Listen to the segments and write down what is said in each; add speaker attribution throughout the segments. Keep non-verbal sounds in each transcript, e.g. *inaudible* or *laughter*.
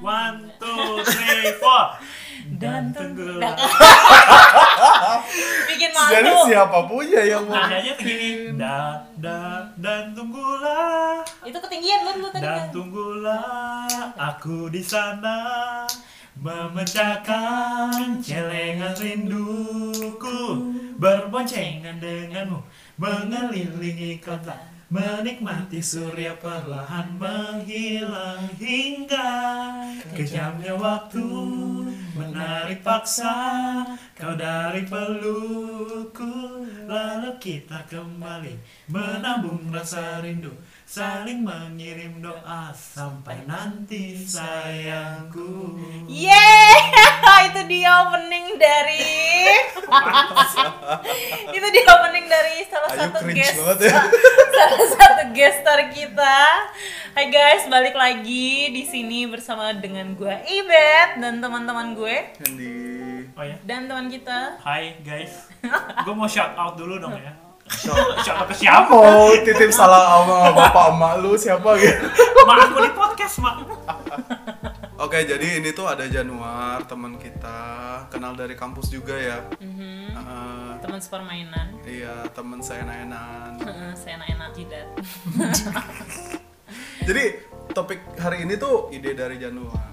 Speaker 1: One, two, three, four.
Speaker 2: Dan
Speaker 1: tenggelam.
Speaker 2: bikin
Speaker 3: Jadi
Speaker 2: malu
Speaker 3: siapa punya yang
Speaker 2: Nah.
Speaker 3: mau
Speaker 1: Nadanya tuh gini. Nah, Da, da, dan tunggulah.
Speaker 2: itu ketinggian lu dulu tadi
Speaker 1: Dan
Speaker 2: kan
Speaker 1: tunggulah aku di sana memecahkan celengan rinduku berboncengan denganmu mengelilingi kota menikmati surya perlahan menghilang hingga kejamnya waktu menarik paksa kau dari pelukku lalu kita kembali menabung rasa rindu saling mengirim doa sampai nanti sayangku
Speaker 2: Yeay, *laughs* itu dia opening dari
Speaker 3: *laughs*
Speaker 2: Itu dia opening dari salah
Speaker 3: Ayu
Speaker 2: satu
Speaker 3: cringe
Speaker 2: guest
Speaker 3: banget ya.
Speaker 2: *laughs* Salah satu guest star kita Hai guys, balik lagi di sini bersama dengan gue Ibet dan teman-teman gue
Speaker 3: Di
Speaker 1: oh ya
Speaker 2: dan teman kita
Speaker 1: hai guys gue mau shout out dulu dong ya
Speaker 3: Shout-
Speaker 1: shout out ke siapa
Speaker 3: mau titip salah sama bapak emak lu siapa gitu.
Speaker 1: mak aku di podcast mak
Speaker 3: Oke, jadi ini tuh ada Januar, teman kita, kenal dari kampus juga ya.
Speaker 2: Mhm,
Speaker 3: Eh,
Speaker 2: teman sepermainan
Speaker 3: iya, teman seenak-enan.
Speaker 2: Heeh, saya enak jidat
Speaker 3: Jadi topik hari ini tuh ide dari Januar.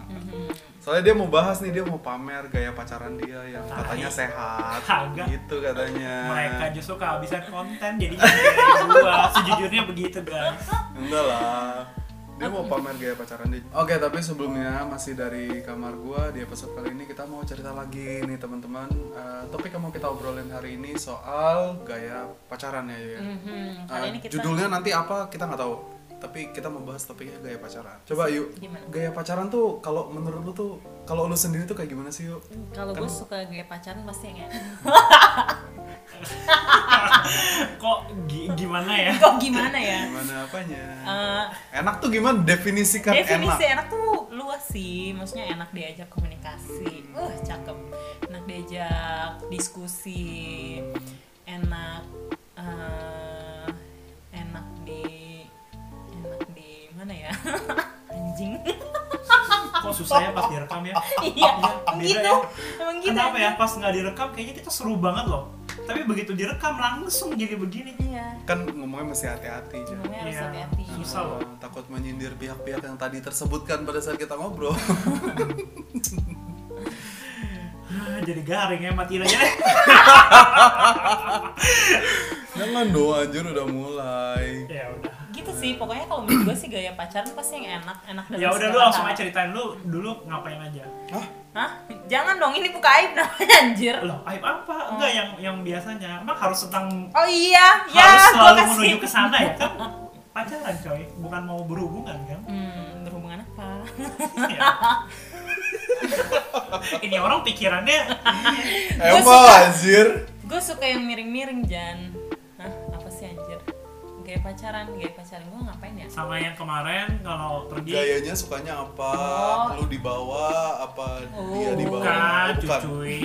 Speaker 3: Soalnya dia mau bahas nih, dia mau pamer gaya pacaran dia yang katanya sehat,
Speaker 1: Kagak.
Speaker 3: gitu katanya.
Speaker 1: mereka justru kehabisan konten jadi kayak gua sejujurnya begitu guys
Speaker 3: Enggak lah. Dia mau pamer gaya pacaran dia. Oke, tapi sebelumnya masih dari kamar gua di episode kali ini kita mau cerita lagi nih teman-teman. Eh, topik yang mau kita obrolin hari ini soal gaya pacaran ya. ya.
Speaker 2: Mhm,
Speaker 3: Eh,
Speaker 2: Kali ini kita
Speaker 3: Judulnya nanti apa kita nggak tahu. Tapi kita mau bahas topiknya gaya pacaran. Coba yuk.
Speaker 2: Gimana?
Speaker 3: Gaya pacaran tuh kalau menurut lu tuh kalau lu sendiri tuh kayak gimana sih yuk?
Speaker 2: kalau gue
Speaker 3: Kan-
Speaker 2: suka gaya pacaran pasti yang ya
Speaker 1: kok gi- gimana ya
Speaker 2: *laughs* Kok gimana ya?
Speaker 3: Gimana apanya?
Speaker 2: Eh,
Speaker 3: enak tuh gimana definisikan
Speaker 1: Kan
Speaker 2: definisi
Speaker 3: enak?
Speaker 2: enak. tuh luas sih maksudnya enak diajak komunikasi uh cakep enak diajak diskusi enak eh, enak di enak di mana ya *laughs* anjing
Speaker 1: kok susah ya pas direkam ya
Speaker 2: iya emang
Speaker 1: beda
Speaker 2: gitu
Speaker 1: ya.
Speaker 2: emang gitu
Speaker 1: kenapa ya pas nggak direkam kayaknya kita seru banget loh tapi begitu direkam langsung jadi begini
Speaker 2: iya ya
Speaker 3: Kan ngomongnya mesti hati-hati. Jan.
Speaker 2: ngomongnya harus
Speaker 1: Iya,
Speaker 2: hati-hati
Speaker 1: susah loh
Speaker 3: takut menyindir pihak-pihak yang tadi tersebutkan pada saat kita ngobrol. *laughs*
Speaker 1: Ah, jadi garing ya matiin aja deh
Speaker 3: Jangan dong anjir udah mulai.
Speaker 1: ya udah
Speaker 2: gitu sih pokoknya kalau menurut gue sih gaya pacaran pasti yang enak enak dalam
Speaker 1: ya udah lu
Speaker 2: segala
Speaker 1: langsung
Speaker 2: hal.
Speaker 1: aja ceritain lu dulu ngapain aja
Speaker 2: Hah? jangan dong ini buka aib namanya anjir
Speaker 1: loh aib apa enggak yang yang biasanya emang harus tentang
Speaker 2: Oh iya, Oh. ya
Speaker 1: harus
Speaker 2: gua
Speaker 1: selalu
Speaker 2: kasih.
Speaker 1: menuju ke sana ya kan pacaran coy bukan mau berhubungan kan
Speaker 2: Hmm, berhubungan apa? *laughs*
Speaker 1: Ya. ini orang pikirannya
Speaker 2: Gua
Speaker 3: Emang
Speaker 2: suka.
Speaker 3: Eh, anjir.
Speaker 2: gue suka yang miring-miring Jan. Hah, apa sih anjir? Gaya pacaran, gaya pacaran gue ngapain ya?
Speaker 1: sama yang kemarin kalau pergi
Speaker 3: Gayanya sukanya apa?
Speaker 2: Oh.
Speaker 3: Lu dibawa apa dia
Speaker 2: Oh.
Speaker 3: dibawa?
Speaker 1: bukan
Speaker 3: Bukan.
Speaker 1: cucuy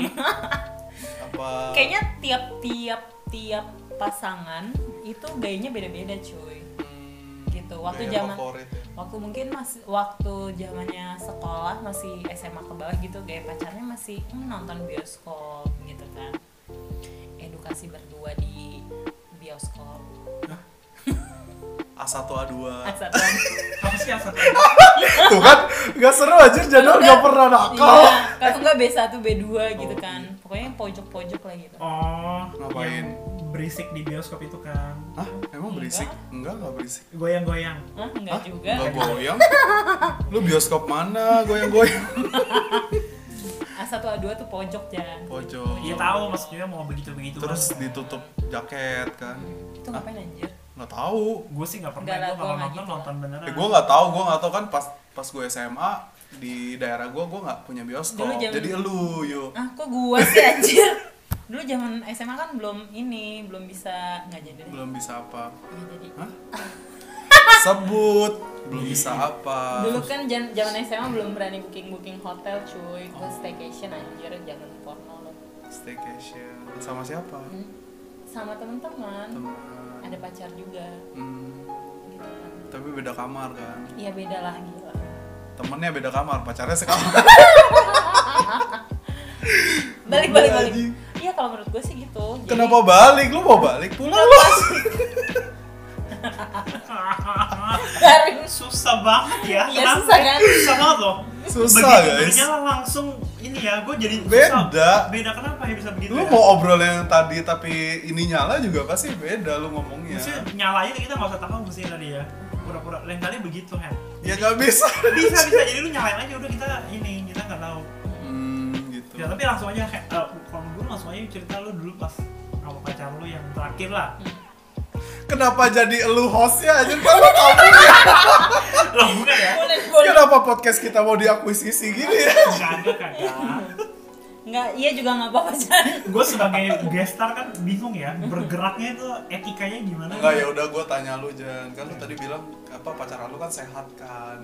Speaker 3: Apa?
Speaker 2: Kayaknya tiap-tiap tiap pasangan itu gayanya beda-beda cuy.
Speaker 3: Hmm,
Speaker 2: Gitu. Waktu
Speaker 3: gaya
Speaker 2: zaman
Speaker 3: favorit ya.
Speaker 2: waktu mungkin masih waktu zamannya sekolah masih SMA ke bawah gitu gaya pacarnya masih hmm, nonton bioskop gitu kan. Edukasi berdua di bioskop.
Speaker 3: A1 A2.
Speaker 2: *laughs* Asatan.
Speaker 1: apa sih
Speaker 3: *laughs*
Speaker 1: asal
Speaker 3: Tuh kan gak seru anjir Januar gak pernah nakal.
Speaker 2: Iya, kalau enggak B1, B2 gitu kan. Pokoknya yang pojok-pojok lah gitu.
Speaker 1: oh
Speaker 3: Ngapain?
Speaker 1: yang berisik di bioskop itu kan
Speaker 3: Hah? Emang berisik? Enggak, enggak berisik.
Speaker 1: goyang-goyang
Speaker 2: Hah, enggak
Speaker 3: Hah?
Speaker 2: juga.
Speaker 3: Enggak goyang? Lu bioskop mana goyang-goyang?
Speaker 2: *laughs* A1, A2 tuh pojok, Jan.
Speaker 3: Pojok.
Speaker 1: Iya tahu maksudnya mau begitu-begitu. kan.
Speaker 3: Terus ditutup jaket kan?
Speaker 2: Itu ngapain anjir?
Speaker 3: Nggak tahu.
Speaker 1: gue sih nggak pernah
Speaker 2: Enggak lah,
Speaker 1: gue kalau
Speaker 2: gua nggak
Speaker 1: nonton
Speaker 2: gitu.
Speaker 1: nonton beneran.
Speaker 3: Eh, gue nggak tahu, gue nggak tahu kan pas pas gue SMA di daerah gue gue nggak punya bioskop.
Speaker 2: Dulu zaman-
Speaker 3: Jadi elu yuk.
Speaker 2: Ah, kok gua sih anjir? Dulu zaman SMA kan belum ini, belum bisa nggak jadi. deh.
Speaker 3: Belum bisa apa?
Speaker 2: Nggak jadi.
Speaker 3: Hah? *laughs* Sebut. Belum bisa apa?
Speaker 2: Iya. Dulu kan jan- zaman SMA belum berani booking-booking hotel, cuy. Gua staycation anjir, jangan porno lo.
Speaker 3: Staycation sama siapa?
Speaker 2: Hmm. Sama temen-temen,
Speaker 3: Teman.
Speaker 2: ada pacar juga
Speaker 3: Hmm,
Speaker 2: gitu kan.
Speaker 3: tapi beda kamar kan.
Speaker 2: Iya beda lah gila.
Speaker 3: temennya beda kamar pacarnya sekamar
Speaker 2: Iya. balik balik balik
Speaker 3: Anjing.
Speaker 2: iya kalau menurut gue sih gitu Jadi-
Speaker 3: *laughs* kenapa balik lu mau balik pulang lu
Speaker 2: Garing.
Speaker 1: *laughs* susah banget ya
Speaker 2: Iya,
Speaker 1: Kenapa?
Speaker 2: susah kan?
Speaker 1: susah banget loh
Speaker 3: Susah,
Speaker 1: Begitu
Speaker 3: guys.
Speaker 1: bernyala langsung ini ya gue jadi
Speaker 3: Beda.
Speaker 1: susah. beda kenapa ya bisa
Speaker 2: gitu
Speaker 1: begitu
Speaker 3: lu
Speaker 1: ya?
Speaker 3: mau obrol yang tadi tapi ini nyala juga pasti beda lu ngomongnya
Speaker 1: Maksudnya nyalanya kita nggak usah tahu mesti tadi ya pura-pura lain kali begitu kan
Speaker 3: ya nggak bisa
Speaker 1: bisa bisa jadi lu nyalain aja udah kita ini kita nggak tahu
Speaker 3: hmm, gitu
Speaker 1: ya tapi langsung aja kayak eh, kalau gue langsung aja cerita lu dulu pas sama pacar lu yang terakhir lah
Speaker 3: kenapa jadi lu ya, hostnya aja kalau kamu
Speaker 1: loh bukan ya
Speaker 2: Boleh, boleh.
Speaker 3: kenapa podcast kita mau diakuisisi gini ya
Speaker 1: kagak kagak
Speaker 2: nggak iya juga nggak apa-apa Chan.
Speaker 1: gue sebagai gestar kan bingung ya bergeraknya itu etikanya gimana
Speaker 3: Enggak ya udah gue tanya lu Jan kan lu tadi bilang apa pacaran lu kan sehat kan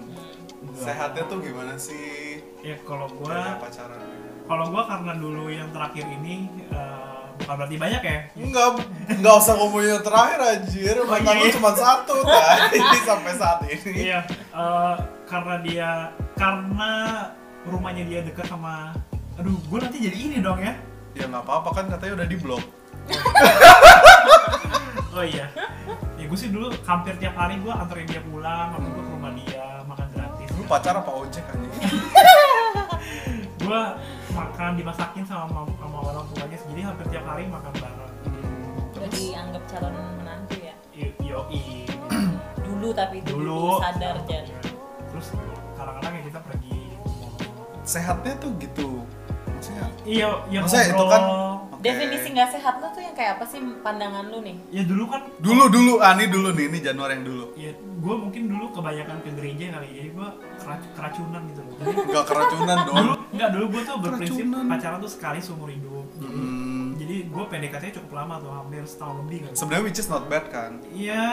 Speaker 3: sehatnya tuh gimana sih
Speaker 1: ya kalau gue
Speaker 3: gua... pacaran
Speaker 1: kalau gue karena dulu yang terakhir ini eh, bukan berarti banyak ya
Speaker 3: Enggak, enggak usah ngomongin yang terakhir anjir Mantan lu
Speaker 1: iya.
Speaker 3: cuma satu tadi sampai saat ini
Speaker 1: iya eh, karena dia karena rumahnya dia dekat sama aduh gue nanti jadi ini dong ya
Speaker 3: Ya nggak apa-apa kan katanya udah di blok
Speaker 1: oh iya ya gue sih dulu hampir tiap hari gue anterin dia pulang sama gue ke rumah dia makan gratis
Speaker 3: Lu pacar apa ojek anjing?
Speaker 1: gue makan dimasakin sama sama orang tuanya jadi hampir tiap hari makan bareng
Speaker 2: udah dianggap calon menantu ya
Speaker 1: Y- yoi
Speaker 2: dulu tapi itu
Speaker 1: dulu
Speaker 2: sadar Jan
Speaker 1: terus kadang-kadang ya kita pergi
Speaker 3: Sehatnya tuh gitu Maksudnya
Speaker 1: iya ya
Speaker 3: Maksudnya itu
Speaker 1: ngobrol.
Speaker 3: kan Oke.
Speaker 2: definisi nggak sehat lo tuh yang kayak apa sih pandangan lu nih
Speaker 1: ya dulu kan
Speaker 3: Dulu dulu, ah ini dulu nih, ini Januar yang dulu
Speaker 1: ya gue mungkin dulu kebanyakan ke gereja kali ya, jadi gue keracunan gitu loh Jadi
Speaker 3: Enggak keracunan dong
Speaker 1: dulu nggak dulu gue tuh berprinsip
Speaker 3: Keracunan.
Speaker 1: pacaran tuh sekali seumur hidup jadi,
Speaker 3: Hmm,
Speaker 1: jadi gue PDKT-nya cukup lama tuh hampir setahun lebih kan
Speaker 3: Sebenarnya which is not bad kan
Speaker 1: Iya,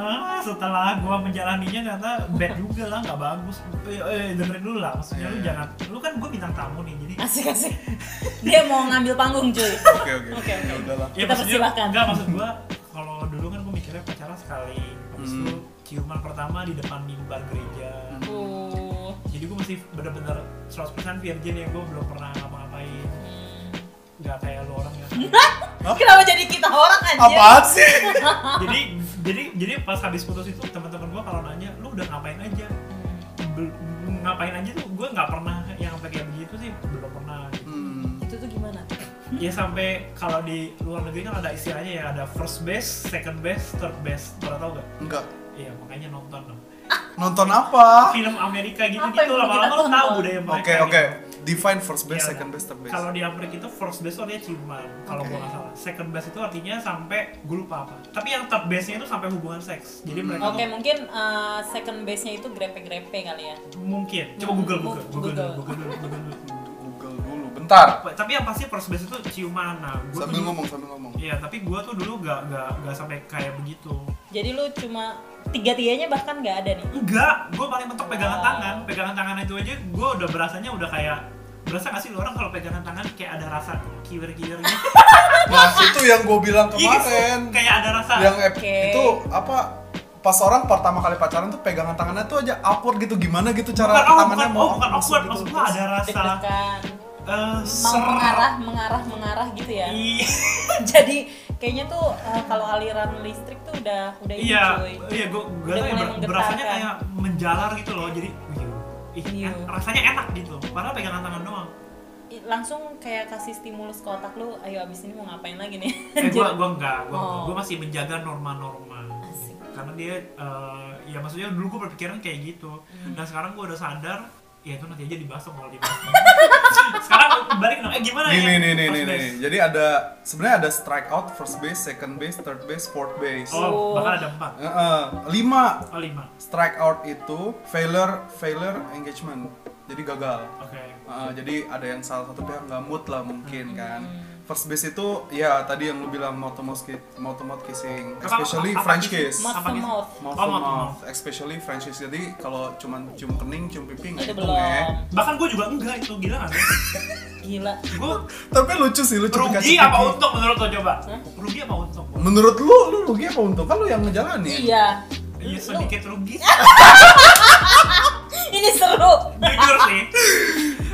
Speaker 1: ah, setelah gua menjalaninya ternyata bad juga lah, nggak bagus. Eh, eh, dengerin dulu lah, maksudnya lu
Speaker 3: Iya.
Speaker 1: jangan, lu kan gua bintang tamu nih, jadi
Speaker 2: asik asik dia mau ngambil panggung cuy
Speaker 3: Oke oke,
Speaker 2: Oke, oke.
Speaker 3: ya udahlah
Speaker 1: Ya,
Speaker 2: Kita
Speaker 1: maksudnya-
Speaker 2: persilahkan.
Speaker 1: Enggak maksud gua kalau dulu kan gua mikirnya pacaran sekali. Habis
Speaker 3: Hmm.
Speaker 1: itu ciuman pertama di depan mimbar gereja.
Speaker 2: uh
Speaker 1: Jadi gua masih bener-bener 100% virgin ya, gua belum pernah ngapa-ngapain. Nggak kayak lu orang
Speaker 2: *laughs*
Speaker 1: ya.
Speaker 3: Hah?
Speaker 2: Kenapa jadi kita orang anjir?
Speaker 3: Apaan sih?
Speaker 1: jadi jadi jadi pas habis putus itu teman-teman gua kalau nanya, lu udah ngapain aja? Bel- ngapain aja tuh gua nggak pernah yang sampai kayak begitu sih, belum pernah.
Speaker 3: Hmm,
Speaker 2: Itu tuh gimana?
Speaker 1: Ya sampai kalau di luar negeri kan ada istilahnya ya ada first base, second base, third base. Pernah tau gak?
Speaker 3: enggak.
Speaker 1: Iya makanya nonton dong.
Speaker 3: Nonton apa?
Speaker 1: film Amerika gitu
Speaker 2: Apa yang
Speaker 1: gitu
Speaker 2: mau
Speaker 1: lama-lama
Speaker 2: kita
Speaker 1: lo tahu
Speaker 2: tonton?
Speaker 1: budaya mereka.
Speaker 3: Oke
Speaker 1: gitu.
Speaker 3: oke. Define first base,
Speaker 1: Iya,
Speaker 3: second base, third base.
Speaker 1: Kalau di Amerika itu first base itu artinya ciuman, kalau gua nggak salah. Second base itu artinya sampai gue lupa apa. Tapi yang third base-nya itu sampai hubungan seks. Jadi
Speaker 3: Hmm.
Speaker 1: mereka
Speaker 2: Oke,
Speaker 1: tuh
Speaker 2: mungkin eh, second base-nya itu grepe-grepe kali ya.
Speaker 1: mungkin. Coba Google Google Google
Speaker 2: Google.
Speaker 1: dulu, Google dulu, Google dulu.
Speaker 3: Google dulu. Bentar.
Speaker 1: Tapi yang pasti first base itu ciuman. Nah, gua
Speaker 3: Sambil
Speaker 1: tuh-
Speaker 3: ngomong sambil ngomong.
Speaker 1: Iya, tapi gua tuh dulu gak nggak nggak sampai kayak begitu.
Speaker 2: Jadi lu cuma tiga-tiganya bahkan nggak ada nih.
Speaker 1: Enggak, gua paling mentok pegangan
Speaker 2: Oh.
Speaker 1: tangan. Pegangan tangan itu aja gua udah berasanya udah kayak berasa gak sih lu orang kalau pegangan tangan kayak ada rasa kiwir-kiwir gitu.
Speaker 3: Nah itu yang gue bilang
Speaker 1: Iya,
Speaker 3: kemarin.
Speaker 1: kayak ada rasa
Speaker 3: Yang ep-
Speaker 2: Oke.
Speaker 3: itu apa? Pas orang pertama kali pacaran tuh pegangan tangannya tuh aja upward gitu gimana gitu cara
Speaker 1: bukan, oh,
Speaker 3: tangannya
Speaker 1: bukan,
Speaker 3: mau
Speaker 1: oh, bukan
Speaker 3: masuk
Speaker 1: awkward,
Speaker 3: gitu.
Speaker 1: maksud gua ada rasa
Speaker 3: *laughs*
Speaker 2: Deg-degan.
Speaker 1: eh
Speaker 2: Mau
Speaker 1: ser
Speaker 2: mengarah, mengarah, mengarah gitu ya. *laughs*
Speaker 1: Iya,
Speaker 2: Jadi kayaknya tuh eh, kalau aliran listrik tuh udah udah ini
Speaker 1: iya,
Speaker 2: cuy.
Speaker 1: iya, gua gua
Speaker 2: Udah
Speaker 1: tuh
Speaker 2: mulai
Speaker 1: ber-
Speaker 2: menggetarkan.
Speaker 1: berasanya kayak menjalar gitu loh, jadi wih, ih,
Speaker 2: Iya.
Speaker 1: en- rasanya enak gitu, padahal pegangan tangan
Speaker 2: *laughs*
Speaker 1: doang.
Speaker 2: I- Langsung kayak kasih stimulus ke otak lu, ayo abis ini mau ngapain lagi nih. *laughs*
Speaker 1: Eh,
Speaker 2: Jadi-
Speaker 1: gua, gua enggak, gua, enggak.
Speaker 2: Oh.
Speaker 1: gua masih menjaga norma-norma.
Speaker 2: Asik.
Speaker 1: Karena dia, eh, ya maksudnya dulu gua berpikiran kayak gitu,
Speaker 2: Hmm.
Speaker 1: dan sekarang gua udah sadar, ya itu nanti aja dibahas dong kalau dibahas. *laughs* sekarang balik dong, eh gimana
Speaker 3: Nih
Speaker 1: ya?
Speaker 3: nih nih nih
Speaker 1: First
Speaker 3: nih,
Speaker 1: base.
Speaker 3: nih. Jadi ada sebenarnya ada strike out first base, second base, third base, fourth base.
Speaker 1: Oh, bakal ada empat,
Speaker 3: Heeh. lima
Speaker 1: oh lima,
Speaker 3: strike out itu failure failure engagement. Jadi gagal.
Speaker 1: oke.
Speaker 3: Uh, jadi ada yang salah satu pihak nggak mood lah
Speaker 1: Hmm.
Speaker 3: mungkin kan. First base itu ya tadi yang lu bilang mouth to mouth, ki- mouth, to mouth kissing,
Speaker 1: Apa-
Speaker 3: especially
Speaker 1: apa-
Speaker 3: French
Speaker 1: apa-
Speaker 3: kiss.
Speaker 2: Mouth
Speaker 1: Apa
Speaker 2: to
Speaker 1: gitu?
Speaker 2: mouth.
Speaker 1: Oh,
Speaker 3: Mouth to
Speaker 1: mouth to
Speaker 3: mouth, especially French kiss. Jadi kalau cuman cium kening, cium pipi nggak
Speaker 2: Itu
Speaker 3: hitung ya.
Speaker 2: belum.
Speaker 1: Bahkan gue juga enggak itu gila kan?
Speaker 2: Gila.
Speaker 1: Gue
Speaker 3: Tapi lucu sih lucu
Speaker 1: rugi
Speaker 3: dikasih
Speaker 1: apa
Speaker 3: pipi.
Speaker 1: untung menurut lo coba?
Speaker 2: Hah?
Speaker 1: Rugi apa untung?
Speaker 3: Menurut lu, lu rugi apa untung? Kan lu yang ngejalanin. *laughs*
Speaker 2: Iya.
Speaker 1: Iya
Speaker 2: Lu-
Speaker 1: sedikit rugi.
Speaker 2: *laughs* ini seru
Speaker 1: jujur sih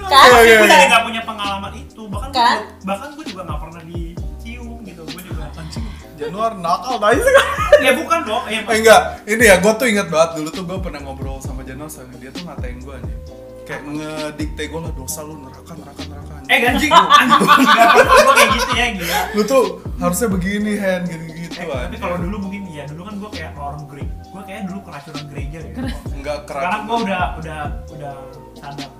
Speaker 2: kan
Speaker 3: Iya,
Speaker 1: gue
Speaker 3: iya,
Speaker 1: juga
Speaker 3: iya.
Speaker 1: nggak punya pengalaman itu bahkan gua
Speaker 2: Kan?
Speaker 1: juga- bahkan gue juga nggak pernah dicium gitu gue
Speaker 3: *laughs*
Speaker 1: juga nggak pernah cium
Speaker 3: Januar nakal tadi sekarang.
Speaker 1: *laughs* ya bukan dong ya
Speaker 3: Eh enggak, ini ya gue tuh inget banget dulu tuh gue pernah ngobrol sama Januar sama dia tuh ngatain gue anjing kayak ngedikte gue lah dosa lu neraka neraka neraka anjing."
Speaker 1: eh ganjing *laughs* nggak pernah gue kayak gitu ya gila
Speaker 3: lu tuh harusnya begini hand gitu gitu
Speaker 1: Eh, tapi kalau dulu mungkin iya dulu kan gue kayak orang gereja gue kayak dulu keracunan gereja ya
Speaker 3: enggak
Speaker 1: sekarang
Speaker 3: keracunan
Speaker 1: gue udah udah udah sadar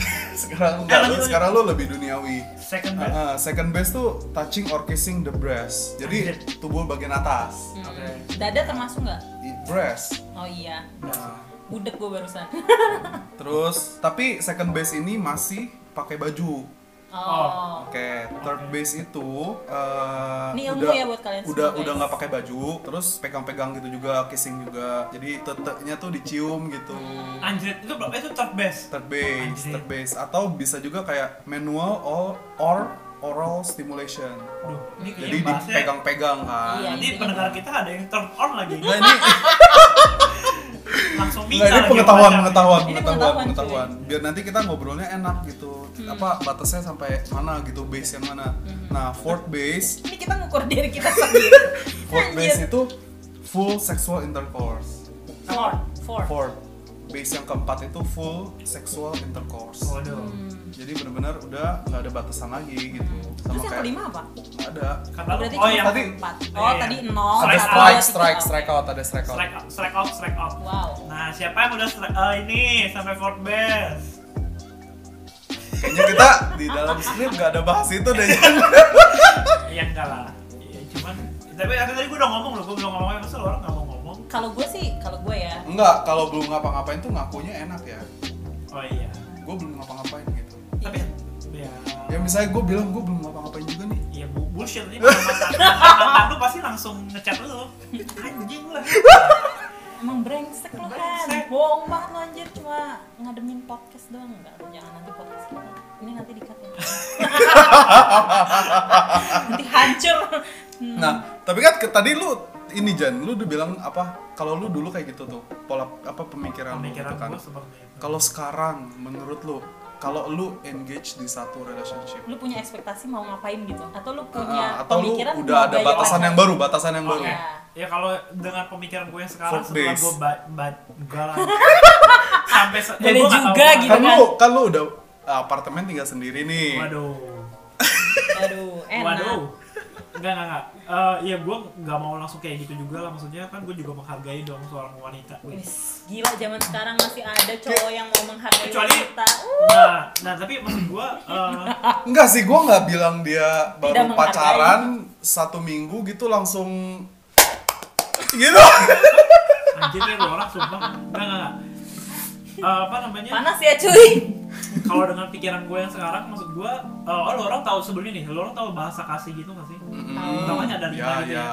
Speaker 3: *laughs* sekarang
Speaker 1: Eh,
Speaker 3: enggak,
Speaker 1: lanjut,
Speaker 3: sekarang lu lebih duniawi
Speaker 1: second
Speaker 3: Ah,
Speaker 1: best
Speaker 3: ah, second base tuh touching or kissing the breast jadi
Speaker 1: Anjir.
Speaker 3: tubuh bagian atas
Speaker 2: Hmm.
Speaker 1: Oke.
Speaker 2: dada termasuk nggak
Speaker 3: di breast
Speaker 2: oh iya
Speaker 3: Nah,
Speaker 2: budek gue barusan *laughs*
Speaker 3: terus tapi second base ini masih pakai baju
Speaker 2: oh
Speaker 3: Oke, third base itu eh,
Speaker 2: Ini ilmu
Speaker 3: udah
Speaker 2: ya buat kalian semua,
Speaker 3: udah
Speaker 2: guys.
Speaker 3: udah nggak pakai baju, terus pegang-pegang gitu juga, kissing juga. Jadi teteknya tuh dicium gitu.
Speaker 1: anjir itu berapa itu top best
Speaker 3: Third base,
Speaker 1: Anjir.
Speaker 3: third base atau bisa juga kayak manual or, or oral stimulation.
Speaker 1: Duh, ini
Speaker 3: Jadi
Speaker 1: kayaknya Iya, bahasnya
Speaker 3: dipegang-pegang kan.
Speaker 2: Iya.
Speaker 1: nanti pendengar kita ada yang turn on lagi
Speaker 3: Nah, ini
Speaker 1: langsung minta
Speaker 3: Enggak, Iya, Nah, ini
Speaker 1: lagi
Speaker 3: pengetahuan,
Speaker 1: baca.
Speaker 3: pengetahuan,
Speaker 2: Ini
Speaker 3: pengetahuan,
Speaker 2: pengetahuan, Hmm.
Speaker 3: pengetahuan. Biar nanti kita ngobrolnya enak gitu. Apa batasnya sampai mana gitu, base yang mana. Nah, fourth base,
Speaker 2: ini Hmm. kita ngukur diri kita
Speaker 1: *laughs*
Speaker 2: sendiri
Speaker 3: fourth base
Speaker 2: Anjir.
Speaker 3: itu full sexual intercourse.
Speaker 2: Four, four.
Speaker 3: Fourth base yang keempat itu full sexual intercourse.
Speaker 1: waduh
Speaker 3: Jadi benar-benar udah nggak ada batasan lagi gitu.
Speaker 2: Hmm. Terus yang kelima apa?
Speaker 3: nggak ada.
Speaker 1: kata lu
Speaker 2: Berarti
Speaker 1: oh
Speaker 2: cuma
Speaker 1: yang
Speaker 3: tadi-
Speaker 2: empat.
Speaker 1: Iya,
Speaker 2: Oh,
Speaker 1: iya.
Speaker 2: tadi nol.
Speaker 3: ada
Speaker 1: Strike
Speaker 2: satu,
Speaker 1: out.
Speaker 3: strike,
Speaker 2: tiga.
Speaker 3: strike, strike out, ada strike out.
Speaker 1: strike out strike out strike out
Speaker 2: Wow.
Speaker 1: nah siapa yang udah strike ah, ini sampai fourth best
Speaker 3: Kayaknya kita di dalam script nggak ada bahas itu
Speaker 2: *laughs*
Speaker 3: deh.
Speaker 1: ya enggak lah ya cuman tapi tadi gue udah ngomong loh gue belum ngomong masa lu orang nggak mau ngomong
Speaker 2: Kalau gue sih, kalau gue ya.
Speaker 3: Enggak, kalau belum ngapa-ngapain tuh ngakunya enak ya.
Speaker 1: oh iya
Speaker 3: Gue belum ngapa-ngapain gitu.
Speaker 2: Iya.
Speaker 1: tapi ya
Speaker 3: ya misalnya gue bilang gue belum ngapa-ngapain juga nih
Speaker 1: ya bu bullshit ini mantan lu pasti langsung ngechat
Speaker 3: *laughs*
Speaker 1: lu anjing lah
Speaker 2: Emang brengsek lo kan.
Speaker 1: Brengsek.
Speaker 2: Bohong banget lo anjir cuma ngademin podcast doang enggak. lo Jangan nanti podcast kita. Ini nanti di *laughs* nanti hancur. Hmm.
Speaker 3: nah tapi kan ke- tadi lu ini Jan lu udah bilang apa kalau lu dulu kayak gitu tuh pola apa pemikiran, lu
Speaker 1: pemikiran
Speaker 3: gitu kan
Speaker 1: gue seperti itu
Speaker 3: kalau sekarang menurut lu kalau lu engage di satu relationship
Speaker 2: Lu punya ekspektasi mau ngapain gitu atau lu
Speaker 3: ah,
Speaker 2: punya
Speaker 3: atau lu
Speaker 2: pemikiran
Speaker 3: udah
Speaker 2: mau Iya.
Speaker 3: ada
Speaker 2: gaya
Speaker 3: batasan
Speaker 2: pacar?
Speaker 3: yang baru batasan yang baru
Speaker 1: Oke. Ya kalau dengan pemikiran gue yang sekarang
Speaker 3: Fourth
Speaker 1: setelah
Speaker 3: base.
Speaker 1: gue ba ba enggak lah. sampai se- ya,
Speaker 2: Boleh
Speaker 1: gue nggak tahu
Speaker 2: juga
Speaker 1: kenapa.
Speaker 2: gitu.
Speaker 3: kan lu kan lu udah apartemen tinggal sendiri nih
Speaker 1: Waduh.
Speaker 2: Aduh, enak.
Speaker 1: Waduh. Enggak, enggak, enggak. Eh, ya gue nggak mau langsung kayak gitu juga lah. Maksudnya kan gue juga menghargai dong seorang wanita. Wih.
Speaker 2: Wis, Gila zaman sekarang masih ada cowok yang mau menghargai
Speaker 1: Kecuali-
Speaker 2: wanita. Uh,
Speaker 1: Nah, nah tapi maksud gue eh,
Speaker 3: enggak sih gue nggak bilang dia baru
Speaker 2: menghargai.
Speaker 3: pacaran satu minggu gitu
Speaker 2: *laughs*
Speaker 3: langsung gitu
Speaker 1: anjir ya lu orang sumpah. Enggak, enggak, enggak. Eh, apa namanya?
Speaker 2: Panas ya cuy.
Speaker 3: *laughs*
Speaker 1: Kalau dengan pikiran gue yang sekarang, maksud gue, eh, oh lu orang tahu sebelumnya nih, lu orang tahu bahasa kasih gitu nggak sih?
Speaker 3: Mm-mm.
Speaker 1: Tahu kan nyadar
Speaker 3: Ya,
Speaker 1: gimana gitu
Speaker 3: ya.
Speaker 1: ya.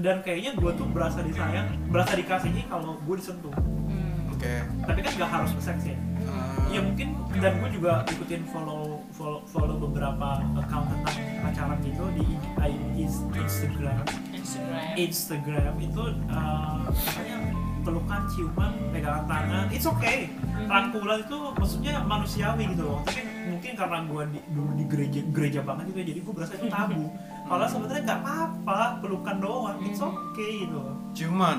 Speaker 1: dan kayaknya gue tuh berasa disayang berasa dikasihi kalau gue disentuh
Speaker 2: Hmm.
Speaker 3: Oke.
Speaker 1: tapi kan gak harus ke seks ya
Speaker 3: Eh,
Speaker 1: ya mungkin dan gue juga ikutin follow follow, follow beberapa account tentang pacaran gitu di I- is- Instagram
Speaker 2: Instagram.
Speaker 1: Instagram itu eh, katanya pelukan ciuman pegangan tangan it's okay rangkulan itu maksudnya manusiawi gitu loh tapi mungkin karena gue di, dulu di gereja gereja banget gitu ya jadi gue berasa itu tabu kalau sebenarnya nggak apa-apa pelukan doang it's okay gitu loh
Speaker 3: Cuman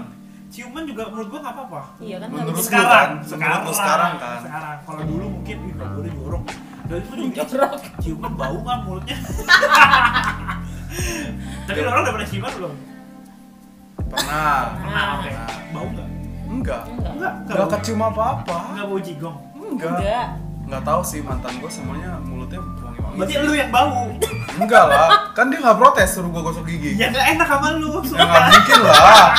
Speaker 1: ciuman juga menurut gua nggak apa-apa
Speaker 2: Iya kan
Speaker 3: Menurut
Speaker 2: harus
Speaker 3: lu
Speaker 2: *laughs*
Speaker 3: kan?
Speaker 1: sekarang
Speaker 3: Menurut
Speaker 1: sekarang
Speaker 3: lu sekarang kan?
Speaker 1: sekarang kalau dulu mungkin ih kalau gua udah jorok dan itu juga
Speaker 2: jorok.
Speaker 1: ciuman bau kan
Speaker 3: *laughs*
Speaker 1: mulutnya tapi orang udah pernah ciuman belum
Speaker 3: pernah.
Speaker 1: pernah oke bau nggak
Speaker 3: Enggak.
Speaker 2: Enggak.
Speaker 1: nggak
Speaker 3: Enggak
Speaker 1: bau.
Speaker 3: kecium apa-apa.
Speaker 1: nggak bau jigong
Speaker 3: Iya. Enggak.
Speaker 2: Enggak.
Speaker 3: Enggak tahu sih mantan gue semuanya mulutnya
Speaker 1: berarti
Speaker 3: wangi-wangi.
Speaker 1: lu yang
Speaker 3: *laughs*
Speaker 1: bau
Speaker 3: Enggak lah. Kan dia nggak protes suruh gue gosok gigi.
Speaker 1: ya nggak enak sama lu
Speaker 3: Ya nggak mungkin lah.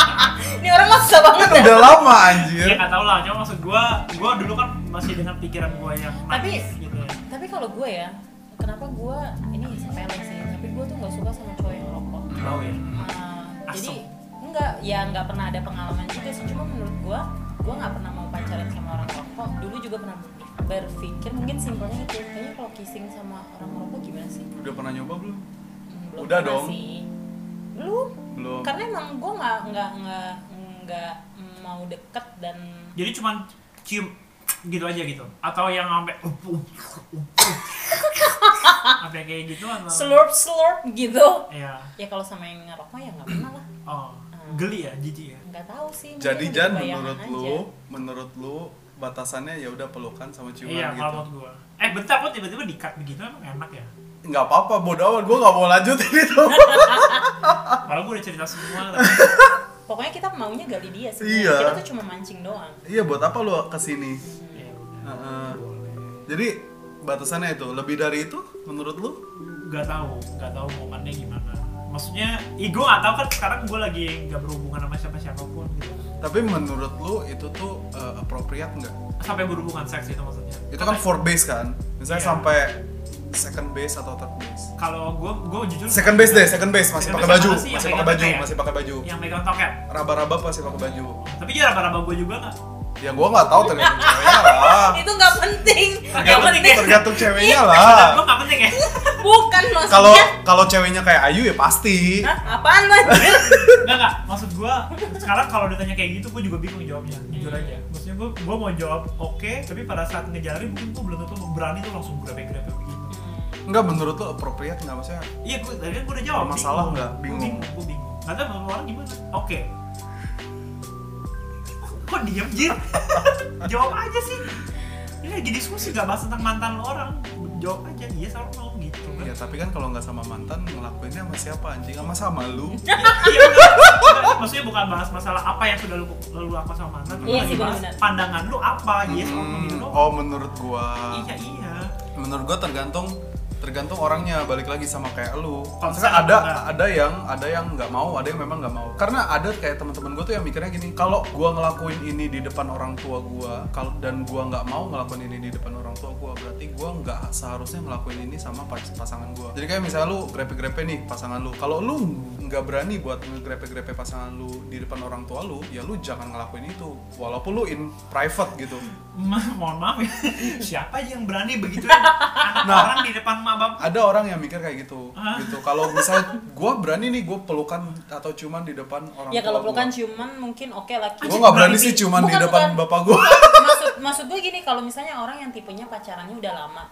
Speaker 2: Ini orang maksa banget
Speaker 3: Kan
Speaker 2: ya.
Speaker 3: udah lama
Speaker 1: ya
Speaker 3: anjir.
Speaker 1: nggak tau lah cuma maksud gua gua dulu kan masih dengan pikiran gua yang
Speaker 2: Tapi-
Speaker 1: manis gitu ya
Speaker 2: Tapi kalau gue ya, kenapa gue ini sepele sih, tapi gue tuh nggak suka sama cowok yang rokok.
Speaker 1: bau ya
Speaker 2: Ah, jadi
Speaker 1: Asem.
Speaker 2: enggak ya nggak pernah ada pengalaman juga sih cuma menurut gue gue nggak pernah mau pacaran sama orang rokok dulu juga pernah berpikir mungkin simpelnya itu kayaknya kalau kissing sama orang rokok gimana sih
Speaker 3: Udah pernah nyoba belum?
Speaker 2: Hmm,
Speaker 3: Udah
Speaker 2: pernah
Speaker 3: dong.
Speaker 2: sih. belum
Speaker 3: Belum.
Speaker 1: Kan
Speaker 2: karena emang gue nggak nggak nggak nggak mau deket dan
Speaker 1: jadi cuman cium gitu aja gitu atau yang sampai sampai kayak gitu atau
Speaker 2: slurp slurp gitu
Speaker 1: ya
Speaker 2: ya kalau sama yang ngerokok ya nggak pernah lah
Speaker 1: oh geli ya jijik ya
Speaker 2: nggak tahu sih mungkin
Speaker 3: Jadi
Speaker 2: udah
Speaker 3: Jan
Speaker 2: bayangan
Speaker 3: menurut
Speaker 2: aja.
Speaker 3: lu, menurut lu batasannya ya udah pelukan sama ciuman
Speaker 1: iya
Speaker 3: gitu.
Speaker 1: kalau menurut gua eh bentar kok tiba-tiba dikat begitu emang enak ya
Speaker 3: Nggak apa-apa, bodo amat gue nggak mau lanjutin itu.
Speaker 1: Kan-
Speaker 3: Ah.
Speaker 1: kalau gua udah cerita semua
Speaker 3: *laughs*
Speaker 1: tapi
Speaker 2: pokoknya kita maunya gali dia sih
Speaker 3: Iya.
Speaker 2: kita tuh cuma mancing doang
Speaker 3: iya buat apa lu kesini?
Speaker 1: ya udah
Speaker 3: Heeh.
Speaker 1: boleh
Speaker 3: Jadi batasannya itu lebih dari itu menurut lu?
Speaker 1: nggak tahu nggak tahu momennya gimana maksudnya ih gue nggak tahu kan sekarang gue lagi nggak berhubungan sama siapa siapapun gitu
Speaker 3: Tapi menurut lu itu tuh eh, appropriate nggak?
Speaker 1: sampai berhubungan seks itu maksudnya
Speaker 3: Itu kan for base kan? Misalnya
Speaker 1: Iya.
Speaker 3: sampai second base atau third base.
Speaker 1: kalau gue gue jujur
Speaker 3: Second base deh, second base masih
Speaker 1: Second
Speaker 3: pakai
Speaker 1: base
Speaker 3: baju,
Speaker 1: apa sih? Yang
Speaker 3: masih
Speaker 1: pegang
Speaker 3: pakai baju,
Speaker 1: topeng ya?
Speaker 3: masih pakai baju.
Speaker 1: yang megang toket
Speaker 3: Raba-raba masih pakai baju.
Speaker 1: tapi dia raba-raba gue juga nggak
Speaker 3: Ya gua nggak tahu
Speaker 1: *laughs*
Speaker 3: tergantung ceweknya lah.
Speaker 2: itu nggak penting *laughs* nggak
Speaker 1: Tergantung-
Speaker 2: penting
Speaker 3: Tergantung
Speaker 1: Iya,
Speaker 3: ceweknya
Speaker 1: Menurut gue
Speaker 3: lah.
Speaker 1: nggak penting ya
Speaker 2: bukan maksudnya
Speaker 3: Kalau kalau ceweknya kayak Ayu ya pasti.
Speaker 2: Hah? apaan lu anjir?
Speaker 3: *laughs*
Speaker 1: nggak nggak maksud gue sekarang kalau ditanya kayak gitu gue juga bingung jawabnya jujur aja maksudnya gue gue mau jawab oke tapi pada saat ngejalanin mungkin gue belum tentu berani tuh langsung gitu. grepe-grepe begitu
Speaker 3: Enggak menurut lu appropriate nggak maksudnya?
Speaker 1: Iya, gue tadi kan gue udah jawab.
Speaker 3: Masalah
Speaker 1: bingung.
Speaker 3: nggak? Bingung.
Speaker 1: Gue bingung. Gue bingung. Nggak tahu beberapa orang gimana? Oke. Kok diam jir? *laughs* jawab aja sih. Ini lagi diskusi nggak bahas tentang mantan lo orang. Jawab aja iya sama lo gitu kan.
Speaker 3: Ya tapi kan kalau nggak sama mantan ngelakuinnya sama siapa anjing? Sama sama lu.
Speaker 1: Iya, iya, bener. Nggak, maksudnya bukan bahas masalah apa yang sudah lu lu lakukan sama mantan.
Speaker 2: Iya
Speaker 1: tapi
Speaker 2: sih,
Speaker 1: bahas
Speaker 2: bener-bener.
Speaker 1: Pandangan lu apa? Iya sama lo gitu
Speaker 3: Hmm,
Speaker 1: doang.
Speaker 3: oh menurut gua.
Speaker 1: Iya iya.
Speaker 3: menurut gua tergantung tergantung orangnya balik lagi sama kayak lu
Speaker 1: Konsep nah.
Speaker 3: Misalkan ada
Speaker 1: apa?
Speaker 3: ada yang ada yang nggak mau ada yang memang nggak mau karena ada kayak teman-teman gua tuh yang mikirnya gini kalau gua ngelakuin ini di depan orang tua gua kalau dan gua nggak mau ngelakuin ini di depan orang tua gua berarti gua nggak seharusnya ngelakuin ini sama pas- pasangan gua jadi kayak misalnya lu grepe-grepe nih pasangan lu kalau lu nggak berani buat ngegrepe-grepe pasangan lu di depan orang tua lu ya lu jangan ngelakuin itu walaupun lu in private gitu
Speaker 1: Ma, mohon maaf ya. *laughs* Siapa aja yang berani begitu ya? Anak
Speaker 3: Nah.
Speaker 1: orang di depan mak bapak.
Speaker 3: ada orang yang mikir kayak gitu gitu kalau misalnya gue berani nih gue pelukan atau cuman di depan orang
Speaker 2: ya kalau
Speaker 3: tua
Speaker 2: pelukan ciuman mungkin oke lah
Speaker 3: gue nggak berani
Speaker 1: Berani.
Speaker 3: sih cuman di
Speaker 2: Bukan,
Speaker 3: depan
Speaker 2: bukan.
Speaker 3: bapak gue
Speaker 2: maksud maksud gue gini kalau misalnya orang yang tipenya pacarannya udah lama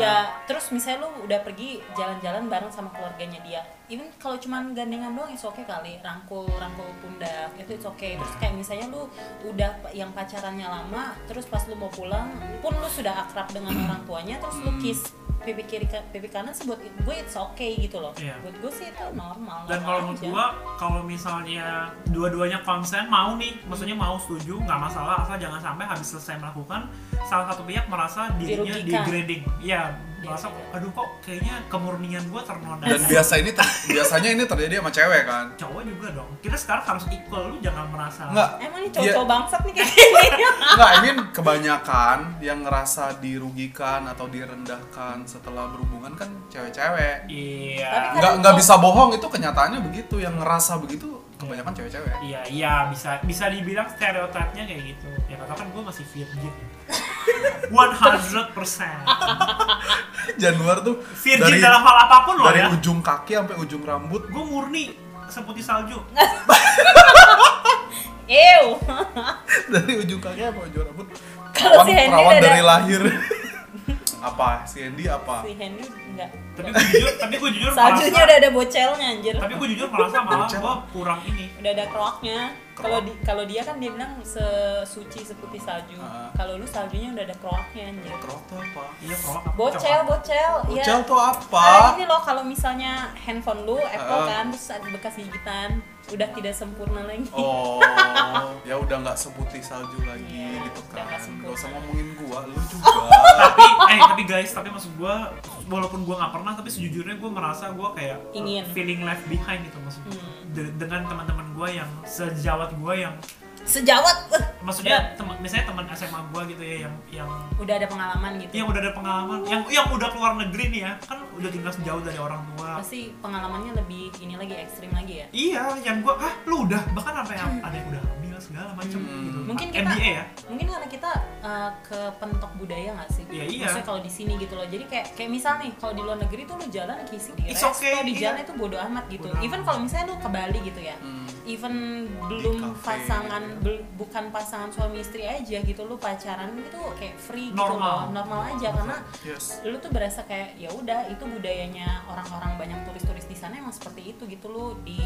Speaker 2: ya terus misalnya lu udah pergi jalan-jalan bareng sama keluarganya dia even kalau cuman gandengan doang itu oke kali rangkul rangkul pundak itu oke okay. terus kayak misalnya lu udah pa- yang pacarannya lama terus pas lu mau pulang pun lu sudah akrab
Speaker 1: *clears throat*
Speaker 2: dengan orang tuanya terus lu kiss pipi kiri ka- pipi kanan sih buat gue it's okay gitu loh
Speaker 1: Iya.
Speaker 2: buat gue sih itu normal
Speaker 1: dan kalau
Speaker 2: Iya.
Speaker 1: menurut gua kalau misalnya dua-duanya konsen mau nih maksudnya mau setuju nggak masalah asal jangan sampai habis selesai melakukan salah satu pihak merasa dirinya
Speaker 2: Dirugikan. Iya
Speaker 1: degrading ya merasa
Speaker 2: Dirugikan.
Speaker 1: aduh kok kayaknya kemurnian gua ternoda *laughs*
Speaker 3: dan biasa ini ter- biasanya ini terjadi sama cewek kan
Speaker 1: cowok juga dong kita sekarang harus equal lu jangan merasa
Speaker 3: nggak
Speaker 2: emang nih
Speaker 3: ya-
Speaker 2: cowok-cowok
Speaker 1: Iya.
Speaker 2: bangsat nih kayak gini *laughs*
Speaker 3: nggak I mean kebanyakan yang ngerasa dirugikan atau direndahkan setelah berhubungan kan cewek-cewek
Speaker 1: iya
Speaker 2: Tapi- kan
Speaker 3: nggak nggak bisa bohong itu kenyataannya begitu yang ngerasa begitu kebanyakan cewek-cewek
Speaker 1: iya iya bisa bisa dibilang stereotipnya kayak gitu ya karena kan gua masih virgin 100%
Speaker 3: Januar tuh
Speaker 1: virgin dalam hal apapun loh
Speaker 3: dari
Speaker 1: ya
Speaker 3: ujung kaki sampai ujung rambut
Speaker 1: gua murni seputih salju
Speaker 2: ew *laughs*
Speaker 3: *laughs* dari ujung kaki apa ujung rambut
Speaker 2: Kalau si
Speaker 3: perawan,
Speaker 2: Hendy
Speaker 3: perawan
Speaker 2: dada-
Speaker 3: dari lahir *laughs* apa si Hendy apa
Speaker 2: si Henry enggak
Speaker 1: tapi gue jujur tapi gue jujur
Speaker 2: Saljunya
Speaker 1: merasa
Speaker 2: udah ada bocelnya anjir.
Speaker 1: tapi gue jujur merasa malah
Speaker 3: Bocah.
Speaker 1: gue kurang ini
Speaker 2: Udah ada kroaknya.
Speaker 3: Kroak.
Speaker 2: Kalau di kalau dia kan dia bilang sesuci seputih salju.
Speaker 3: Ah.
Speaker 2: Kalau lu saljunya udah ada kroaknya anjir.
Speaker 3: Kerok tuh apa
Speaker 1: iya kalau apa
Speaker 2: Bocel, bocel. Iya.
Speaker 3: Ucel tuh apa
Speaker 2: Ah, ini loh kalau misalnya handphone lu Apple
Speaker 3: Ah.
Speaker 2: kan terus ada bekas gigitan, udah tidak sempurna lagi.
Speaker 3: oh ya udah nggak seputih salju lagi
Speaker 2: Iya,
Speaker 3: gitu
Speaker 2: udah
Speaker 3: kan
Speaker 2: nggak
Speaker 3: gak usah
Speaker 2: sempurna.
Speaker 3: ngomongin gua lu juga *laughs*
Speaker 1: tapi eh tapi guys tapi maksud gue walaupun gue nggak pernah tapi sejujurnya gue merasa gue kayak eh,
Speaker 2: Ingin.
Speaker 1: feeling left behind gitu maksudnya
Speaker 2: Hmm.
Speaker 1: De- dengan teman-teman gue yang sejawat gue yang
Speaker 2: *laughs* Sejawat eh,
Speaker 1: maksudnya teman misalnya teman SMA gue gitu ya yang yang
Speaker 2: udah ada pengalaman gitu.
Speaker 3: Iya.
Speaker 1: yang udah ada pengalaman yang yang udah keluar negeri nih ya kan udah tinggal jauh dari orang tua
Speaker 2: Pasti pengalamannya lebih ini lagi ekstrim lagi ya.
Speaker 1: iya yang gue ah lu udah bahkan sampai ada yang udah hamil segala macam
Speaker 3: Hmm.
Speaker 1: gitu.
Speaker 2: Hmm. Mungkin kita-
Speaker 1: MBA ya.
Speaker 2: mungkin karena kita eh, kepentok budaya nggak sih?
Speaker 1: Iya, iya.
Speaker 2: Maksudnya kalau di sini gitu loh. Jadi kayak kayak misal nih kalau di luar negeri tuh lu jalan kissing di
Speaker 1: It's
Speaker 2: resto,
Speaker 1: okay,
Speaker 2: di
Speaker 1: iya.
Speaker 2: jalan itu bodo amat gitu.
Speaker 1: Bodo amat.
Speaker 2: Even kalau misalnya lu ke Bali gitu ya.
Speaker 3: Hmm.
Speaker 2: Even belum
Speaker 3: kafe.
Speaker 2: pasangan
Speaker 1: iya.
Speaker 2: bel- bukan pasangan suami istri aja gitu lu pacaran itu kayak free gitu
Speaker 1: Normal.
Speaker 2: loh, normal aja karena
Speaker 3: Yes.
Speaker 2: lu tuh berasa kayak ya udah itu budayanya orang-orang banyak turis-turis di sana emang seperti itu gitu lu di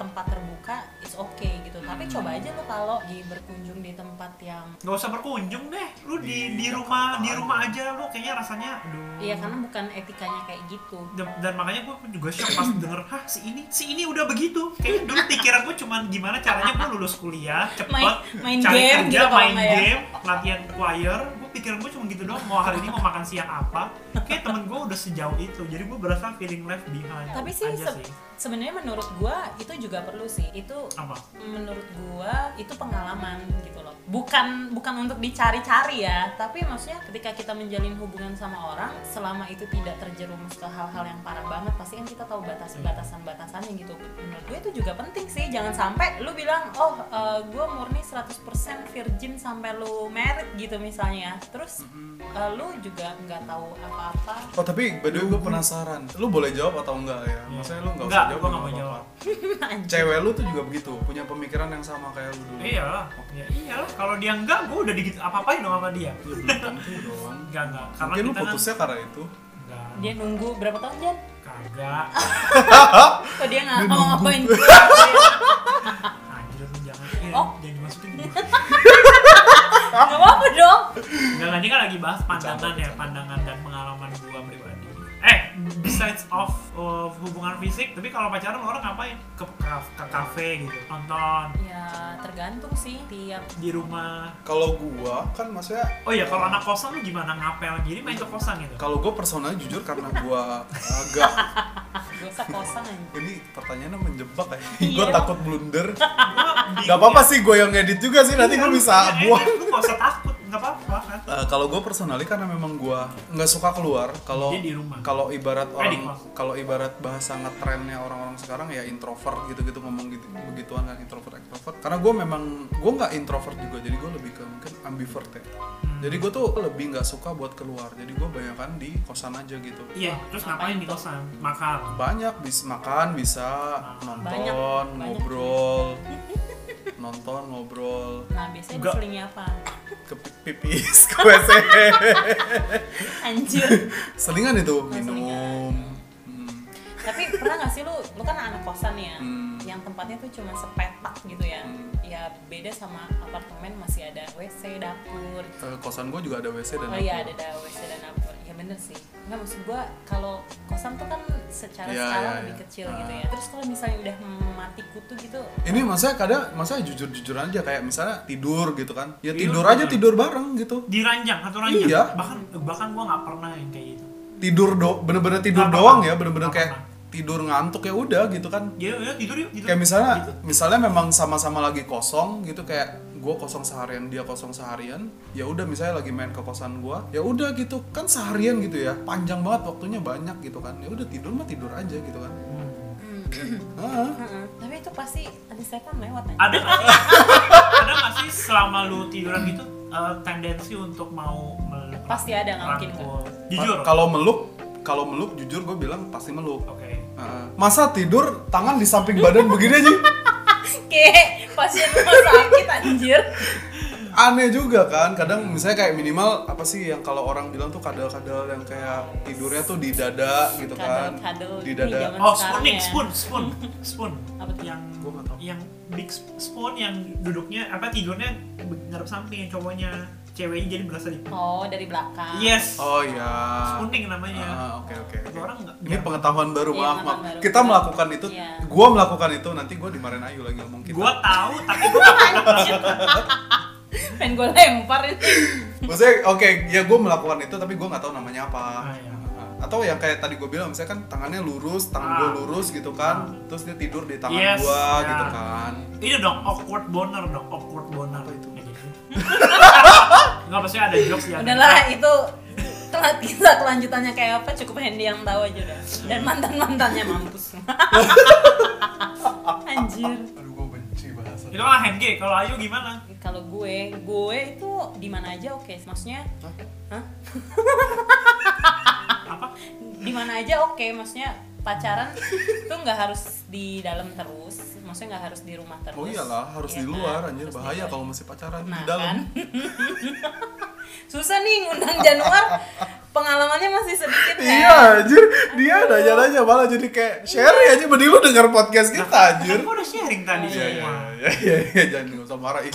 Speaker 2: tempat terbuka it's okay gitu tapi coba aja lu kalau di berkunjung di tempat yang
Speaker 1: Gak usah berkunjung deh, lu di di
Speaker 3: Iya,
Speaker 1: rumah di
Speaker 3: apaan?
Speaker 1: rumah aja lu kayaknya rasanya aduh.
Speaker 2: iya karena bukan etikanya kayak gitu
Speaker 1: dan, dan makanya gue juga shock pas denger hah si ini si ini udah begitu kayaknya dulu pikiran gue cuman gimana caranya gue lulus kuliah cepet
Speaker 2: Main- main
Speaker 1: cari
Speaker 2: game
Speaker 1: kerja
Speaker 2: gitu kalau
Speaker 1: main
Speaker 2: nggak ya.
Speaker 1: game latihan choir gue pikiran gue cuma gitu doang mau hari ini mau makan siang apa kayak temen gue udah sejauh itu jadi gue berasa feeling left behind
Speaker 2: tapi sih,
Speaker 1: aja
Speaker 2: se- sebenarnya menurut gua itu juga perlu sih itu
Speaker 1: apa
Speaker 2: menurut gua itu pengalaman gitu loh bukan bukan untuk dicari-cari ya tapi maksudnya ketika kita menjalin hubungan sama orang selama itu tidak terjerumus ke hal-hal yang parah banget pasti kan kita tahu batas batasan batasannya gitu menurut gue itu juga penting sih jangan sampai lu bilang oh eh, gua murni 100% virgin sampai lu married gitu misalnya terus eh, lu juga nggak tahu apa-apa
Speaker 3: Hmm. Oh tapi by the way gue penasaran, lu boleh jawab atau enggak ya? Maksudnya lu enggak usah
Speaker 1: Enggak,
Speaker 3: jawab
Speaker 1: gua Iya. nggak mau
Speaker 3: apa-apa.
Speaker 1: jawab.
Speaker 2: *laughs* Anjing.
Speaker 3: Cewek lu tuh juga begitu, punya pemikiran yang sama kayak lu dulu.
Speaker 1: iyalah ya, iyalah kalau dia enggak gue udah digit apa apain dong sama dia
Speaker 3: Ya, belum tentu dong.
Speaker 1: enggak enggak karena
Speaker 3: Mungkin lu
Speaker 1: kita kan-
Speaker 3: putusnya karena itu.
Speaker 1: enggak
Speaker 2: dia Ah. nunggu berapa tahun Jan?
Speaker 1: kagak
Speaker 2: kok dia nggak mau ngapain
Speaker 1: anjir lu jangan eh,
Speaker 2: Oh.
Speaker 1: jangan dimasukin
Speaker 2: *laughs* nggak apa-apa dong
Speaker 1: Enggak, ini kan lagi bahas pandangan ya, pandangan dan pengalaman gua pribadi. Eh, besides of, of hubungan fisik, tapi kalau pacaran lu orang ngapain? Ke, ke, ke kafe gitu, nonton
Speaker 2: Ya tergantung sih tiap
Speaker 1: di rumah.
Speaker 3: Kalau gua kan maksudnya
Speaker 1: Oh iya, kalau anak kosan lu gimana ngapel gini main ke kosan gitu?
Speaker 3: kalau gua personalnya jujur karena gua agak
Speaker 2: gue sekosan aja.
Speaker 3: ini pertanyaannya menjebak ya.
Speaker 2: Iya.
Speaker 3: gua takut blunder.
Speaker 1: Gua bingung
Speaker 3: Gak apa-apa
Speaker 1: ya.
Speaker 3: sih gua yang ngedit juga sih nanti
Speaker 1: Iya,
Speaker 3: gua
Speaker 1: lu-
Speaker 3: bisa
Speaker 1: iya,
Speaker 3: buang.
Speaker 1: iya, Lu nggak usah takut, nggak apa-apa kan?
Speaker 3: Eh, kalau gue personally karena memang gue nggak suka keluar kalau
Speaker 1: Jadi di rumah.
Speaker 3: kalau ibarat
Speaker 1: Eh, di
Speaker 3: orang
Speaker 1: kos.
Speaker 3: kalau ibarat bahasa ngetrennya orang-orang sekarang ya introvert gitu-gitu ngomong gitu begituan kan introvert extrovert karena gue memang gue nggak introvert juga jadi gue lebih ke mungkin ambivert ya
Speaker 1: Hmm.
Speaker 3: jadi gue tuh lebih nggak suka buat keluar jadi gue banyakan di kosan aja gitu
Speaker 1: Iya, terus ngapain di kosan? Makan.
Speaker 3: banyak bisa makan bisa nonton
Speaker 2: Banyak, banyak.
Speaker 3: ngobrol
Speaker 2: *laughs*
Speaker 3: nonton ngobrol
Speaker 2: Nah biasanya
Speaker 1: Enggak.
Speaker 2: diselingnya apa? *laughs*
Speaker 3: ke pipis ke *laughs* WC
Speaker 2: Anjir.
Speaker 3: selingan itu
Speaker 2: Nah, selingan.
Speaker 3: minum Hmm.
Speaker 2: Tapi pernah gak sih lu, lu kan anak kosan ya,
Speaker 3: Hmm.
Speaker 2: yang tempatnya tuh cuma sepetak gitu ya.
Speaker 3: Hmm.
Speaker 2: Ya beda sama apartemen masih ada WC, dapur.
Speaker 3: Eh, kosan gue juga ada WC dan
Speaker 2: Oh
Speaker 3: dapur.
Speaker 2: iya ada ada WC dan dapur. Ya bener sih. Nggak maksud gua kalau kosan tuh kan secara
Speaker 3: Iya,
Speaker 2: skala
Speaker 3: iya,
Speaker 2: lebih
Speaker 3: iya.
Speaker 2: kecil
Speaker 3: Ah.
Speaker 2: gitu ya. Terus kalau misalnya udah mati kutu gitu,
Speaker 3: ini maksudnya kadang maksudnya jujur-jujur aja kayak misalnya tidur gitu kan ya
Speaker 1: Tidur
Speaker 3: tidur aja
Speaker 1: bareng.
Speaker 3: tidur bareng gitu
Speaker 1: Di ranjang, satu ranjang.
Speaker 3: Iya.
Speaker 1: Bahkan bahkan gua nggak pernah yang kayak gitu.
Speaker 3: tidur do bener-bener tidur
Speaker 1: Nggak
Speaker 3: doang
Speaker 1: apa-apa.
Speaker 3: ya bener-bener
Speaker 1: Nggak
Speaker 3: kayak
Speaker 1: apa-apa.
Speaker 3: tidur ngantuk ya udah gitu kan
Speaker 1: Ya, ya tidur yuk, tidur. Gitu.
Speaker 3: kayak misalnya
Speaker 2: Gitu.
Speaker 3: misalnya memang sama-sama lagi kosong gitu kayak gue kosong seharian dia kosong seharian ya udah misalnya lagi main ke kosan gue ya udah gitu kan seharian gitu ya panjang banget waktunya banyak gitu kan ya udah tidur mah tidur aja gitu kan
Speaker 2: Hmm.
Speaker 3: Ah.
Speaker 2: heeh. tapi itu pasti ada second lewat *laughs* aja.
Speaker 1: ada nggak sih- ada nggak sih selama lu tiduran gitu eh, tendensi untuk mau meluk
Speaker 2: Pasti ada, nggak mungkin
Speaker 1: rangkul?
Speaker 2: nggak.
Speaker 1: jujur
Speaker 3: Pa- kalau meluk kalau meluk jujur gue bilang pasti meluk
Speaker 1: oke
Speaker 3: Heeh. masa tidur tangan di samping badan begini
Speaker 2: *laughs*
Speaker 3: aja
Speaker 2: Oke, pasien rumah sakit anjir.
Speaker 3: aneh juga kan kadang misalnya kayak minimal apa sih yang kalau orang bilang tuh kadal-kadal yang kayak tidurnya tuh di dada gitu kan
Speaker 2: Kadal-kadal
Speaker 3: di
Speaker 2: di
Speaker 3: dada
Speaker 2: zaman.
Speaker 1: oh
Speaker 2: sekarang
Speaker 1: spooning
Speaker 2: ya.
Speaker 1: spoon
Speaker 2: *laughs*
Speaker 1: spoon spoon
Speaker 2: Apa tuh?
Speaker 1: yang
Speaker 3: Gua nggak tahu.
Speaker 1: yang big sp- spoon yang duduknya apa tidurnya be- ngarep samping cowoknya ceweknya jadi berasa di
Speaker 2: Oh, dari belakang.
Speaker 1: yes
Speaker 3: oh ya
Speaker 1: spooning namanya
Speaker 3: Ah, oke oke oke.
Speaker 1: orang nggak
Speaker 3: ini pengetahuan baru
Speaker 2: Iya,
Speaker 3: maaf maaf
Speaker 2: pengetahuan baru.
Speaker 3: kita melakukan itu
Speaker 2: Iya.
Speaker 3: gua melakukan itu nanti gua dimarahin Ayu lagi ngomong kita
Speaker 1: gue tahu tapi gue nggak pernah
Speaker 2: *laughs* Pengen gue lempar itu.
Speaker 3: maksudnya oke ya gua melakukan itu tapi gua nggak tahu namanya apa
Speaker 1: Ah, iya.
Speaker 3: atau yang kayak tadi gue bilang misalnya kan tangannya lurus tangan
Speaker 1: Ah.
Speaker 3: gue lurus gitu kan terus dia tidur di tangan
Speaker 1: Yes,
Speaker 3: gue
Speaker 1: ya.
Speaker 3: gitu kan
Speaker 1: Ini dong awkward boner dong, awkward boner
Speaker 3: Apa itu?
Speaker 1: Enggak pasti ada jokes ya.
Speaker 2: Udahlah, itu telat kita kelanjutannya kayak apa cukup Hendy yang tahu aja udah. Dan mantan-mantannya mampus. anjir.
Speaker 3: aduh gue benci Ci bahasa.
Speaker 1: Itu lah hand gay. Kalau Ayu gimana?
Speaker 2: Kalau gue, gue itu di mana aja oke. Maksudnya
Speaker 3: Hah?
Speaker 2: Hah?
Speaker 1: Apa?
Speaker 2: di mana aja oke maksudnya pacaran tuh nggak harus di dalam terus maksudnya nggak harus di rumah terus
Speaker 3: Oh iyalah, harus
Speaker 2: Iya
Speaker 3: di
Speaker 2: kan?
Speaker 3: luar anjir
Speaker 2: Harus di
Speaker 3: bahaya
Speaker 2: luar.
Speaker 3: kalau masih pacaran
Speaker 2: Nah,
Speaker 3: di dalam.
Speaker 2: kan? *laughs* susah nih ngundang Januar pengalamannya masih sedikit kan?
Speaker 3: Iya anjir, dia nanya-nanya malah jadi kayak
Speaker 2: Iya.
Speaker 3: Sherry aja mending lu denger podcast kita anjir.
Speaker 1: Kan gua udah sharing tadi
Speaker 3: Iya iya
Speaker 1: semua.
Speaker 3: iya iya iya jangan nggak usah marah ih.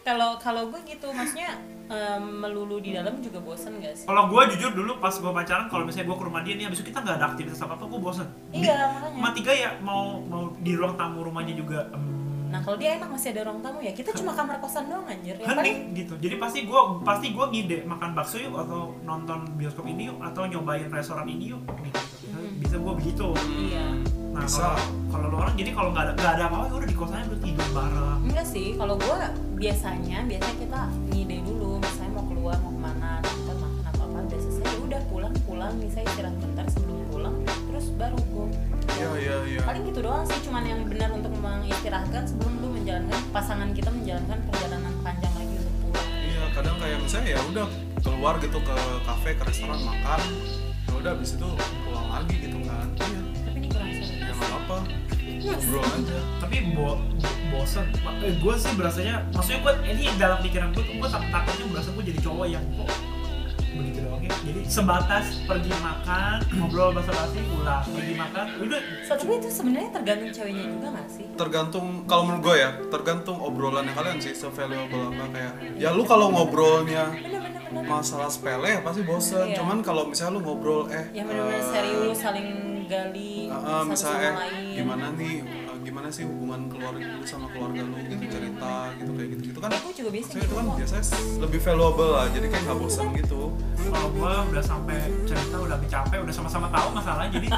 Speaker 2: kalau kalau gue gitu maksudnya em, melulu di dalam juga bosen gak sih
Speaker 1: Kalau gue jujur dulu pas gue pacaran, kalau misalnya gue ke rumah dia nih, abis itu kita nggak ada aktivitas apa apa, gue bosen.
Speaker 2: iya
Speaker 1: Cuma
Speaker 2: makanya
Speaker 1: tiga ya mau mau di ruang tamu rumahnya juga. em,
Speaker 2: nah kalau dia emang masih ada ruang tamu ya kita cuma kamar kosan doang anjir ya paling
Speaker 1: hening gitu jadi pasti gue pasti gue ngide makan bakso yuk atau nonton bioskop ini yuk atau nyobain restoran ini yuk gitu.
Speaker 2: Hmm.
Speaker 1: bisa gue begitu
Speaker 2: iya
Speaker 1: nah
Speaker 3: Bisa.
Speaker 1: kalau kalau lu orang jadi kalau nggak ada nggak ada apa-apa ya udah di kosannya udah tidur bareng
Speaker 2: enggak sih kalau gue biasanya biasanya kita ngide dulu misalnya mau keluar mau kemana kita makan apa apa udah selesai ya udah pulang pulang misalnya istirahat bentar sebelum pulang terus baru gue
Speaker 3: Iya iya iya.
Speaker 2: paling gitu doang sih cuman yang benar untuk mengistirahatkan sebelum lu menjalankan pasangan kita menjalankan perjalanan panjang lagi untuk pulang
Speaker 3: Iya kadang kayak misalnya ya udah keluar gitu ke kafe ke restoran makan, ya udah abis itu pulang lagi gitu kan. Iya.
Speaker 2: tapi ini kurang Iya seru
Speaker 3: Ya nggak apa, ngobrol aja.
Speaker 1: tapi bo bosen eh, gue sih berasanya maksudnya gue ini dalam pikiran gue gue tak takutnya berasa gue jadi cowok yang kok begitu doang ya jadi sebatas pergi makan ngobrol basa-basi pulang pergi makan udah
Speaker 2: Tapi itu sebenarnya tergantung ceweknya juga gak sih?
Speaker 3: tergantung kalau menurut gue ya tergantung obrolannya kalian sih se valuable apa kayak ya lu kalau ngobrolnya
Speaker 2: Bener bener bener.
Speaker 3: masalah sepele ya pasti bosen
Speaker 2: Iya.
Speaker 3: cuman kalau misalnya lu ngobrol eh
Speaker 2: Yang bener-bener
Speaker 3: eh,
Speaker 2: Ya, serius saling gali
Speaker 3: eh, eh,
Speaker 2: satu sama
Speaker 3: misalnya eh,
Speaker 2: lain.
Speaker 3: gimana nih eh, gimana sih hubungan keluarga lu sama keluarga lu gitu cerita gitu kayak gitu gitu kan
Speaker 2: Aku juga biasa
Speaker 3: maksudnya
Speaker 2: gitu
Speaker 3: itu kan
Speaker 2: kok.
Speaker 3: biasanya s- lebih valuable lah jadi kayak nggak bosen gitu
Speaker 1: kalau gue udah sampai cerita udah capek udah sama-sama tahu masalahnya jadi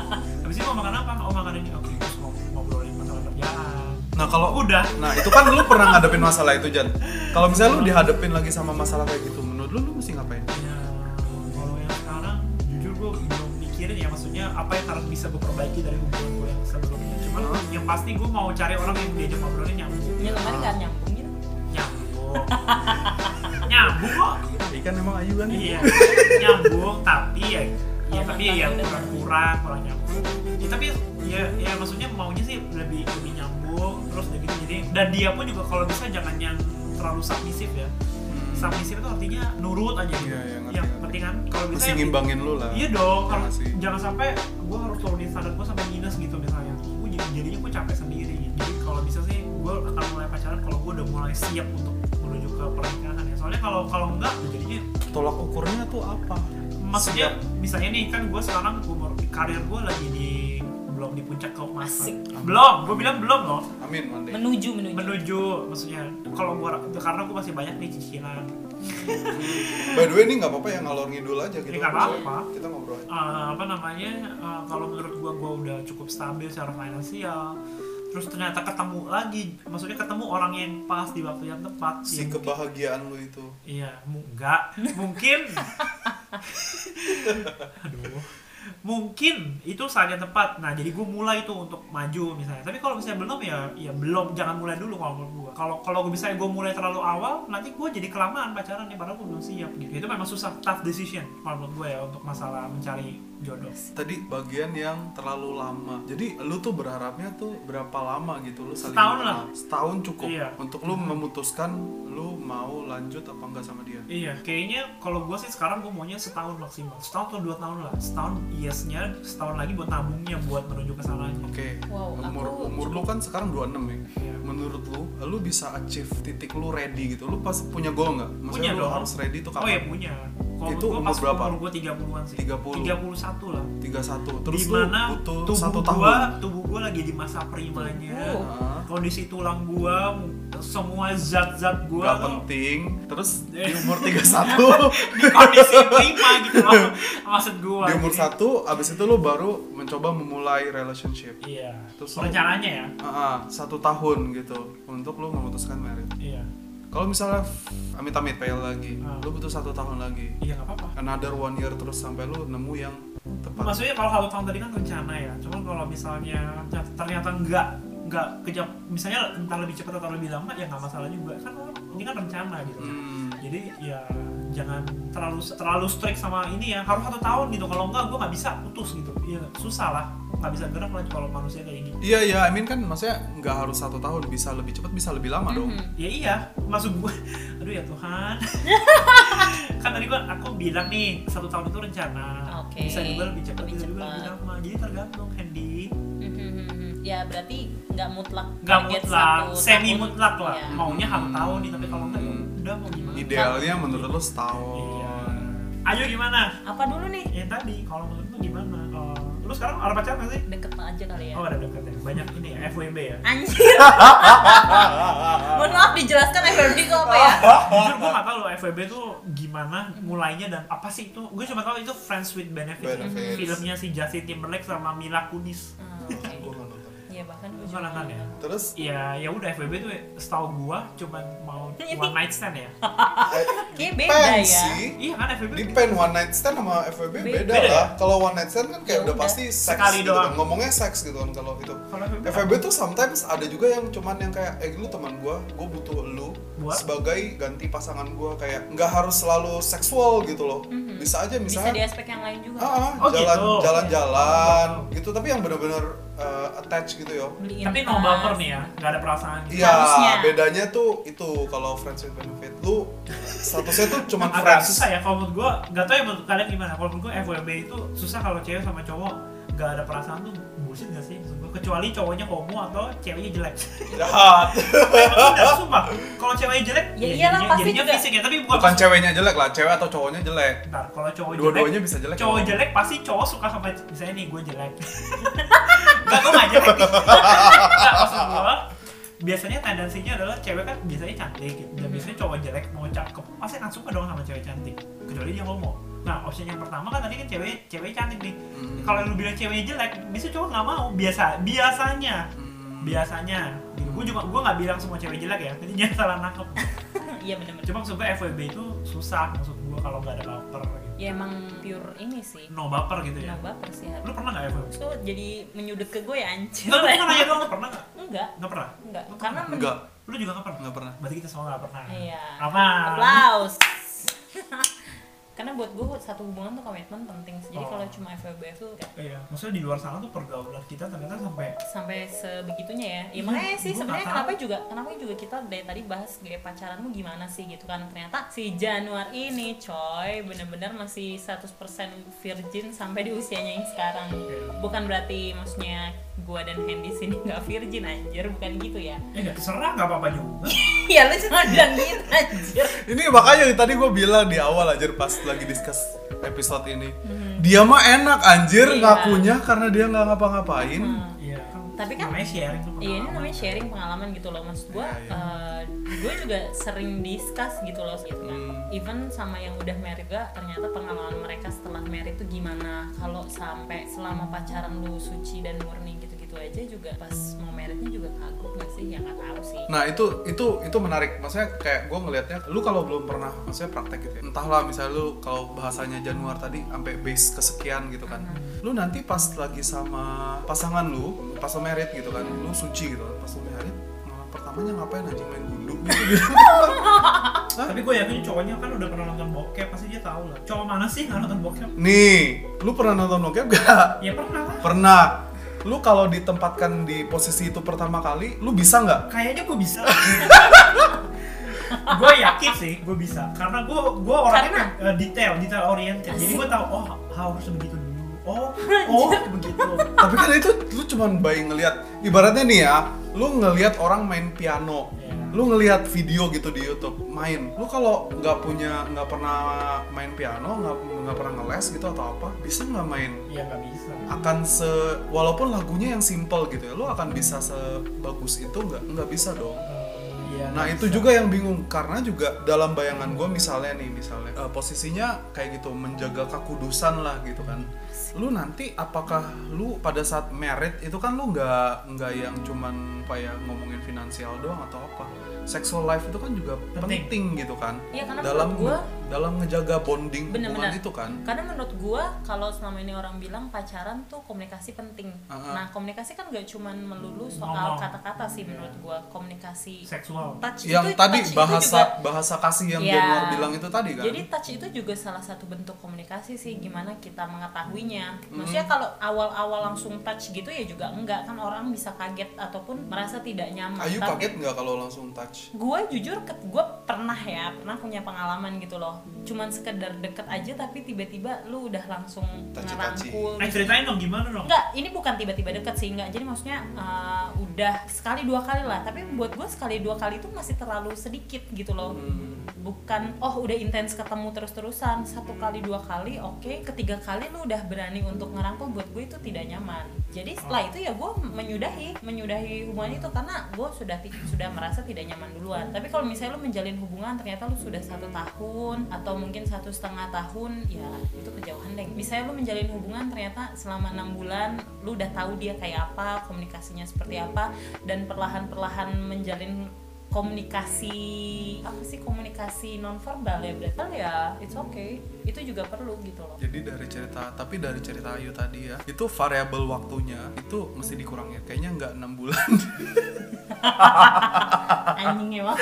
Speaker 1: habis ini mau makan apa oh makan ini oke terus mau ngobrolin masalah kerjaan
Speaker 3: nah kalau
Speaker 1: udah
Speaker 3: nah itu kan lu pernah ngadepin masalah itu Jan kalau misalnya lu dihadepin lagi sama masalah kayak gitu menurut lu lu mesti ngapain
Speaker 1: ya kalau yang sekarang jujur gue belum mikirin ya maksudnya apa yang harus bisa gue perbaiki dari hubungan gue yang sebelumnya cuman yang pasti gue mau cari orang yang diajak ngobrolnya nyambung
Speaker 2: Ya kemarin gak nyambung gitu.
Speaker 1: nyambung *laughs* nyambung kok
Speaker 3: ikan emang ayu kan
Speaker 1: iya nyambung tapi ya ya tapi ya kurang kurang kurang nyambung ya, tapi ya ya maksudnya maunya sih lebih lebih nyambung terus udah gitu jadi dan dia pun juga kalau bisa jangan yang terlalu submisif ya
Speaker 3: Hmm.
Speaker 1: submisif itu artinya nurut aja gitu
Speaker 3: Iya, iya, ngerti,
Speaker 1: yang
Speaker 3: ngerti.
Speaker 1: penting kan kalau bisa
Speaker 3: mesti
Speaker 1: yang-
Speaker 3: ngimbangin lu lah
Speaker 1: iya dong
Speaker 3: Iya
Speaker 1: kalau
Speaker 3: sih.
Speaker 1: jangan sampai gue harus turunin standar gue sampai minus gitu misalnya gue jadinya gue capek sendiri jadi kalau bisa sih gue akan mulai pacaran kalau gue udah mulai siap untuk menuju ke pernikahan ya soalnya kalau kalau enggak jadinya
Speaker 3: tolak ukurnya tuh apa
Speaker 1: maksudnya misalnya nih kan gue sekarang umur karir gue lagi di belum di puncak keemasan
Speaker 2: Asik.
Speaker 1: belum gue bilang belum loh
Speaker 3: amin mandi
Speaker 2: Menuju menuju.
Speaker 1: menuju maksudnya kalau gue karena gue masih banyak nih cicilan
Speaker 3: by the way ini nggak apa-apa ya ngalor ngidul aja gitu
Speaker 1: Ini nggak apa-apa.
Speaker 3: kita ngobrol aja
Speaker 1: Eh, apa namanya eh, kalau menurut gua gua udah cukup stabil secara finansial terus ternyata ketemu lagi maksudnya ketemu orang yang pas di waktu yang tepat
Speaker 3: si
Speaker 1: ya,
Speaker 3: kebahagiaan lu itu
Speaker 1: iya mu- enggak mungkin aduh mungkin itu saat yang tepat nah jadi gua mulai tuh untuk maju misalnya tapi kalau misalnya belum ya ya belum jangan mulai dulu kalau menurut gua kalau kalau misalnya gua mulai terlalu awal nanti gua jadi kelamaan pacaran nih padahal gua belum siap gitu itu memang susah tough decision kalau menurut gua ya untuk masalah mencari jodoh
Speaker 3: tadi bagian yang terlalu lama jadi lu tuh berharapnya tuh berapa lama gitu lu saling
Speaker 1: Setahun
Speaker 3: mengenal. setahun cukup
Speaker 1: Iya.
Speaker 3: untuk lu memutuskan lu mau lanjut apa enggak sama dia
Speaker 1: Iya, kayaknya kalau gue sih sekarang gue maunya setahun maksimal, setahun atau dua tahun lah, setahun yesnya, setahun lagi buat nabungnya buat menuju ke sananya.
Speaker 3: oke
Speaker 2: Wow,
Speaker 3: umur
Speaker 2: aku-
Speaker 3: umur lu kan sekarang 26 ya
Speaker 1: Iya.
Speaker 3: menurut lu lu bisa achieve titik lu ready gitu lu pas punya goal nggak maksudnya
Speaker 1: Punya
Speaker 3: lu
Speaker 1: dong.
Speaker 3: harus ready tuh
Speaker 1: Oh ya
Speaker 3: kapan
Speaker 1: punya. Kalau
Speaker 3: Itu
Speaker 1: gue
Speaker 3: umur
Speaker 1: pas
Speaker 3: berapa?
Speaker 1: umur gue 30-an sih.
Speaker 3: 30.
Speaker 1: 31 lah.
Speaker 3: 31 terus lu
Speaker 1: Dimana
Speaker 3: butuh
Speaker 1: tubuh
Speaker 3: satu
Speaker 1: gua,
Speaker 3: tahun
Speaker 1: tubuh gue lagi di masa primanya.
Speaker 2: Tubuh.
Speaker 3: Nah.
Speaker 1: Kondisi tulang gue, semua zat-zat gue
Speaker 3: nggak
Speaker 1: tuh
Speaker 3: penting
Speaker 1: *laughs*
Speaker 3: terus
Speaker 1: Eh.
Speaker 3: di umur 31
Speaker 1: di kondisi prima gitu loh. Maksud gue.
Speaker 3: di umur satu abis itu lu baru mencoba memulai relationship
Speaker 1: Iya.
Speaker 3: Terus-
Speaker 1: rencananya ya.
Speaker 3: Ah, ah, satu tahun gitu untuk lu memutuskan merit
Speaker 1: Iya.
Speaker 3: kalau misalnya amit-amit fail lagi
Speaker 1: Ah.
Speaker 3: lu butuh satu tahun lagi
Speaker 1: Iya nggak apa-apa.
Speaker 3: another one year terus sampai lu nemu yang tepat
Speaker 1: Maksudnya kalau satu tahun tadi kan rencana ya, cuman kalau misalnya ternyata enggak nggak kejam misalnya entah lebih cepat atau lebih lambat ya nggak masalah juga kan ini kan rencana gitu
Speaker 3: Hmm.
Speaker 1: jadi ya jangan terlalu terlalu strict sama ini ya harus satu tahun gitu kalau enggak gue nggak bisa putus gitu ya susah lah nggak bisa gerak lah kalau manusia kayak gini
Speaker 3: Iya iya, I mean kan maksudnya nggak harus satu tahun, bisa lebih cepat, bisa lebih lama dong.
Speaker 2: Mhm.
Speaker 1: ya iya maksud gue *laughs* aduh ya
Speaker 2: *laughs*
Speaker 1: Tuhan kan tadi gue aku bilang nih satu tahun itu rencana
Speaker 2: Oke,
Speaker 1: bisa juga lebih cepat
Speaker 2: lebih
Speaker 1: bisa juga lebih
Speaker 2: cepat.
Speaker 1: lama jadi tergantung Handy
Speaker 2: Mhm. ya berarti nggak mutlak
Speaker 1: nggak
Speaker 2: target
Speaker 1: mutlak
Speaker 2: satu
Speaker 1: semi
Speaker 2: tahun.
Speaker 1: mutlak lah
Speaker 2: Iya.
Speaker 1: maunya satu tahun nih tapi kalau enggak ya
Speaker 3: Hmm.
Speaker 1: udah mau gimana
Speaker 3: Idealnya menurut lo setahun.
Speaker 1: iya ayo gimana
Speaker 2: apa dulu nih
Speaker 1: yang tadi kalau menurut lu gimana Eh, lu sekarang ada pacar nggak sih
Speaker 2: deket aja kali ya
Speaker 1: oh ada deket ya banyak ini ya, FWB ya
Speaker 2: anjir *laughs* mohon maaf dijelaskan FWB itu apa
Speaker 3: *laughs*
Speaker 2: ya
Speaker 3: Oh,
Speaker 1: jujur gue gak tau lo FWB tuh gimana mulainya dan apa sih itu gue cuma tahu itu Friends with Benefits,
Speaker 3: Benefits.
Speaker 1: filmnya si Justin Timberlake sama Mila Kunis
Speaker 2: Hmm,
Speaker 3: Gua
Speaker 2: oke.
Speaker 3: nggak nonton.
Speaker 2: Iya bahkan gue
Speaker 1: Lu
Speaker 2: juga
Speaker 1: nonton ya?
Speaker 3: Terus
Speaker 1: ya ya udah FWB tuh setahu gua cuman mau
Speaker 2: *laughs*
Speaker 1: one night stand ya
Speaker 2: Oh. Kayaknya beda
Speaker 3: pen
Speaker 2: ya.
Speaker 3: eh, sih.
Speaker 1: iya kan FWB
Speaker 3: Depend one night stand sama FWB
Speaker 2: Beda.
Speaker 3: beda,
Speaker 1: Beda
Speaker 3: lah. Kalau one night stand kan kayak
Speaker 2: Ya
Speaker 3: udah
Speaker 2: udah.
Speaker 3: pasti seks
Speaker 1: Sekali
Speaker 3: gitu kan.
Speaker 1: doang.
Speaker 3: Ngomongnya seks gitu kan kalau itu.
Speaker 1: kalau FWB apa?
Speaker 3: FWB tuh sometimes ada juga yang cuman yang kayak eh lu teman gua, gua butuh lu
Speaker 1: Buat?
Speaker 3: sebagai ganti pasangan gua kayak nggak harus selalu seksual gitu loh.
Speaker 2: Mhm.
Speaker 3: Bisa aja
Speaker 2: Bisa di
Speaker 3: misalnya
Speaker 2: aspek yang lain juga.
Speaker 3: ah,
Speaker 1: Oh,
Speaker 3: jalan,
Speaker 1: gitu.
Speaker 3: jalan-jalan gitu tapi yang bener-bener eh, attach gitu ya.
Speaker 2: Beliin
Speaker 1: tapi no
Speaker 2: tas.
Speaker 1: baper nih ya nggak ada perasaan gitu
Speaker 3: Iya,
Speaker 2: Harusnya.
Speaker 3: bedanya tuh itu kalau friends with benefit lu statusnya tuh cuman
Speaker 1: agak
Speaker 3: friends.
Speaker 1: susah ya kalau menurut gua nggak tau ya menurut kalian gimana kalau menurut gua FWB itu susah kalau cewek sama cowok nggak ada perasaan tuh bullshit gak sih Maksud gua, kecuali cowoknya homo atau ceweknya jelek *laughs*
Speaker 3: Jahat.
Speaker 1: Enggak, sumpah. Kalau ceweknya jelek,
Speaker 2: Ya iyalah,
Speaker 1: jadinya-
Speaker 2: pasti
Speaker 1: jadinya
Speaker 2: juga.
Speaker 1: fisik ya, tapi bukan,
Speaker 3: Bukan ceweknya jelek lah, cewek atau cowoknya jelek.
Speaker 1: Bentar, kalau cowok
Speaker 3: Dua-duanya
Speaker 1: jelek,
Speaker 3: bisa jelek. ya?
Speaker 1: cowok jelek pasti cowok suka sama misalnya nih gue jelek. *laughs* Enggak, gue nggak jelek. Enggak, maksud gue biasanya tendensinya adalah cewek kan biasanya cantik gitu. dan
Speaker 2: Mhm.
Speaker 1: biasanya cowok jelek mau cakep pasti akan suka dong sama cewek cantik kecuali dia homo nah opsi yang pertama kan tadi kan cewek cewek cantik nih
Speaker 3: Hmm.
Speaker 1: kalau lu bilang cewek jelek biasanya cowok nggak mau biasa biasanya
Speaker 3: Hmm.
Speaker 1: biasanya gue juga gue nggak bilang semua cewek jelek ya *laughs* jadi jangan salah nangkep
Speaker 2: Iya benar-benar.
Speaker 1: cuma maksud gue FWB itu susah maksud gue kalau nggak ada baper gitu
Speaker 2: Ya emang pure ini sih.
Speaker 1: no baper gitu ya
Speaker 3: Iya.
Speaker 2: No baper sih harus.
Speaker 1: lu pernah nggak FWB
Speaker 2: Terus tuh jadi menyudut ke gue ya anjir.
Speaker 1: Enggak, lu pernah nanya doang, lu pernah nggak?
Speaker 2: Enggak,
Speaker 1: Nggak pernah?
Speaker 2: enggak. Karena men-
Speaker 3: Enggak,
Speaker 1: Lu juga nggak pernah?
Speaker 3: enggak pernah.
Speaker 1: Berarti kita semua nggak pernah
Speaker 2: Iya.
Speaker 1: Apa?
Speaker 2: Applause. *laughs* Karena buat gue satu hubungan tuh komitmen penting. sih.
Speaker 3: Ah.
Speaker 2: Jadi
Speaker 1: Oh.
Speaker 2: kalau cuma FWB tuh kayak
Speaker 1: Iya, maksudnya di luar sana tuh pergaulan kita ternyata sampai
Speaker 2: sampai sebegitunya ya. Ya
Speaker 1: Iya,
Speaker 2: makanya sih
Speaker 1: gua
Speaker 2: sebenarnya
Speaker 1: nggak
Speaker 2: kenapa juga kenapa juga kita dari tadi bahas gaya pacaranmu gimana sih gitu kan. Ternyata si Januar ini coy bener-bener masih 100% virgin sampai di usianya yang sekarang.
Speaker 1: Iya.
Speaker 2: Bukan berarti maksudnya gua dan Hendy sini nggak virgin anjir, bukan gitu ya.
Speaker 1: Ya nggak terserah nggak apa-apa juga
Speaker 2: Iya lu jangan bilang gitu anjir.
Speaker 3: Ini makanya tadi gue bilang di awal aja pas lagi discuss episode ini. Dia mah enak anjir
Speaker 2: Iya.
Speaker 3: ngakunya karena dia nggak ngapa-ngapain.
Speaker 2: Hmm.
Speaker 1: Iya
Speaker 2: Tapi kan-
Speaker 1: Namanya sharing tuh
Speaker 2: Iya ini
Speaker 1: pengalaman.
Speaker 2: namanya sharing pengalaman gitu loh maksud gue.
Speaker 3: Iya, iya.
Speaker 2: gue juga sering discuss gitu loh gitu kan.
Speaker 3: Hmm.
Speaker 2: Even sama yang udah married juga ternyata pengalaman mereka setelah married tuh gimana. Kalau sampai selama pacaran lu suci dan murni gitu-gitu aja juga pas mau marriednya juga kagum gak sih? Ya nggak tahu sih.
Speaker 3: Nah itu itu itu menarik. Maksudnya kayak gue ngelihatnya, lu kalau belum pernah, maksudnya praktek gitu. Ya. Entahlah misalnya lu kalau bahasanya Januar tadi sampai base kesekian gitu kan. Lu nanti pas lagi sama pasangan lu, pas lu merit gitu kan, lu suci gitu. Pas lu merit, malam pertamanya ngapain anjing main gundu gitu.
Speaker 1: Tapi gue yakin cowoknya kan udah pernah nonton bokep Pasti dia tahu lah Cowok mana sih nggak nonton bokep?
Speaker 3: Nih, lu pernah nonton bokep gak?
Speaker 1: Ya pernah lah
Speaker 3: Pernah. Lu kalau ditempatkan di posisi itu pertama kali, lu bisa nggak?
Speaker 1: Kayaknya gue
Speaker 2: *laughs*
Speaker 1: bisa gue yakin sih gue bisa karena gue gue orangnya eh, detail detail oriented jadi gue tahu oh harus begitu dulu oh oh
Speaker 2: *laughs*
Speaker 1: begitu
Speaker 3: Tapi kan itu lu cuman bayi ngelihat. Ibaratnya nih ya, lu ngelihat orang main piano.
Speaker 1: Iya.
Speaker 3: Lu ngelihat video gitu di YouTube main. Lu kalau nggak punya nggak pernah main piano, nggak nggak pernah ngeles gitu atau apa, bisa nggak main?
Speaker 1: ya nggak bisa
Speaker 3: akan se walaupun lagunya yang simple gitu ya lu akan bisa sebagus itu nggak nggak bisa dong
Speaker 1: Eh, ya,
Speaker 3: Nah
Speaker 1: nggak
Speaker 3: itu
Speaker 1: bisa.
Speaker 3: juga yang bingung karena juga dalam bayangan gue misalnya nih misalnya eh, posisinya kayak gitu menjaga kekudusan lah gitu kan. Lu nanti apakah lu pada saat merit itu kan lu nggak nggak yang cuman apa ya ngomongin finansial doang atau apa? Sexual life itu kan juga penting,
Speaker 1: Penting.
Speaker 3: gitu kan.
Speaker 2: Iya karena
Speaker 3: dalam
Speaker 2: gue
Speaker 3: dalam ngejaga bonding hubungan
Speaker 2: Bener-bener.
Speaker 3: itu kan
Speaker 2: Karena menurut gua kalau selama ini orang bilang pacaran tuh komunikasi penting.
Speaker 3: Aha.
Speaker 2: Nah, komunikasi kan gak cuman melulu
Speaker 1: Ngomong.
Speaker 2: soal kata-kata sih menurut gua. Komunikasi
Speaker 1: seksual
Speaker 2: touch
Speaker 3: yang
Speaker 2: itu
Speaker 3: tadi
Speaker 2: touch itu juga-
Speaker 3: bahasa bahasa kasih yang
Speaker 2: Iya.
Speaker 3: Januar bilang itu tadi kan
Speaker 2: Jadi touch itu juga salah satu bentuk komunikasi sih gimana kita mengetahuinya.
Speaker 3: Hmm.
Speaker 2: Maksudnya kalau awal-awal langsung touch gitu ya juga enggak kan orang bisa kaget ataupun merasa tidak nyaman.
Speaker 3: Ayu
Speaker 2: Tapi-
Speaker 3: kaget nggak kalau langsung touch
Speaker 2: gue jujur ke gue pernah ya pernah punya pengalaman gitu loh cuman sekedar deket aja tapi tiba-tiba lu udah langsung
Speaker 3: Taci-taci.
Speaker 2: ngerangkul
Speaker 1: eh ceritain dong gimana dong
Speaker 2: enggak ini bukan tiba-tiba deket sih enggak jadi maksudnya eh, udah sekali dua kali lah tapi buat gue sekali dua kali itu masih terlalu sedikit gitu loh
Speaker 3: Hmm.
Speaker 2: bukan oh udah intens ketemu terus-terusan satu kali dua kali oke ketiga kali lu udah berani untuk ngerangkul buat gue itu tidak nyaman jadi setelah itu ya gue menyudahi menyudahi hubungan itu karena gue sudah ti- sudah merasa tidak nyaman duluan tapi kalau misalnya lu menjalin hubungan ternyata lu sudah satu tahun atau mungkin satu setengah tahun ya itu kejauhan deh misalnya lu menjalin hubungan ternyata selama enam bulan lu udah tahu dia kayak apa komunikasinya seperti apa dan perlahan-perlahan menjalin komunikasi apa sih komunikasi nonverbal ya berarti ya it's okay itu juga perlu gitu loh
Speaker 3: jadi dari cerita tapi dari cerita Ayu tadi ya itu variabel waktunya itu mesti dikurangin kayaknya nggak enam *laughs* bulan
Speaker 2: anjing
Speaker 1: *laughs*
Speaker 2: emang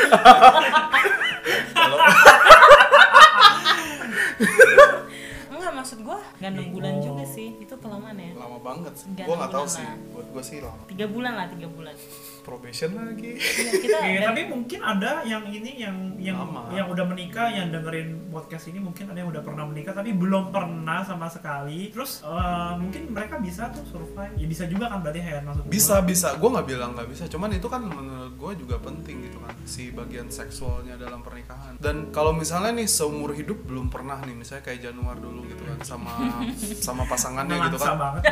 Speaker 2: enggak maksud gua nggak enam bulan juga sih itu kelamaan ya
Speaker 3: lama banget sih
Speaker 2: Nggak
Speaker 3: gue nggak
Speaker 2: enam
Speaker 3: tahu
Speaker 2: bulan
Speaker 3: sih
Speaker 2: lah.
Speaker 3: buat gue sih lama
Speaker 2: tiga bulan lah tiga bulan
Speaker 3: probation lagi
Speaker 1: *laughs*
Speaker 2: Iya, kita
Speaker 1: Iya,
Speaker 2: dan-
Speaker 1: tapi mungkin ada yang ini yang yang
Speaker 3: Lama.
Speaker 1: yang udah menikah yang dengerin podcast ini mungkin ada yang udah pernah menikah tapi belum pernah sama sekali terus eh, mungkin mereka bisa tuh survive ya bisa juga kan berarti Hayat maksud gua.
Speaker 3: bisa bisa gue nggak bilang nggak bisa cuman itu kan menurut gue juga penting gitu kan si bagian seksualnya dalam pernikahan dan kalau misalnya nih seumur hidup belum pernah nih misalnya kayak Januar dulu gitu kan sama sama pasangannya gitu
Speaker 1: Melansa
Speaker 3: kan
Speaker 1: banget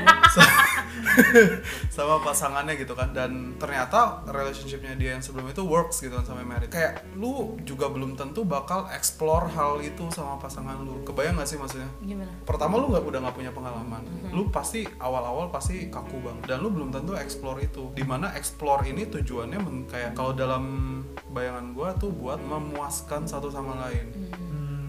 Speaker 3: *laughs* sama pasangannya gitu kan dan ternyata relationshipnya dia yang sebelum itu works gitu kan sampai married kayak lu juga belum tentu bakal explore hal itu sama pasangan lu kebayang gak sih maksudnya
Speaker 2: gimana
Speaker 3: pertama lu nggak udah nggak punya pengalaman lu pasti awal-awal pasti kaku banget dan lu belum tentu explore itu dimana explore ini tujuannya men- kayak kalau dalam bayangan gua tuh buat memuaskan satu sama lain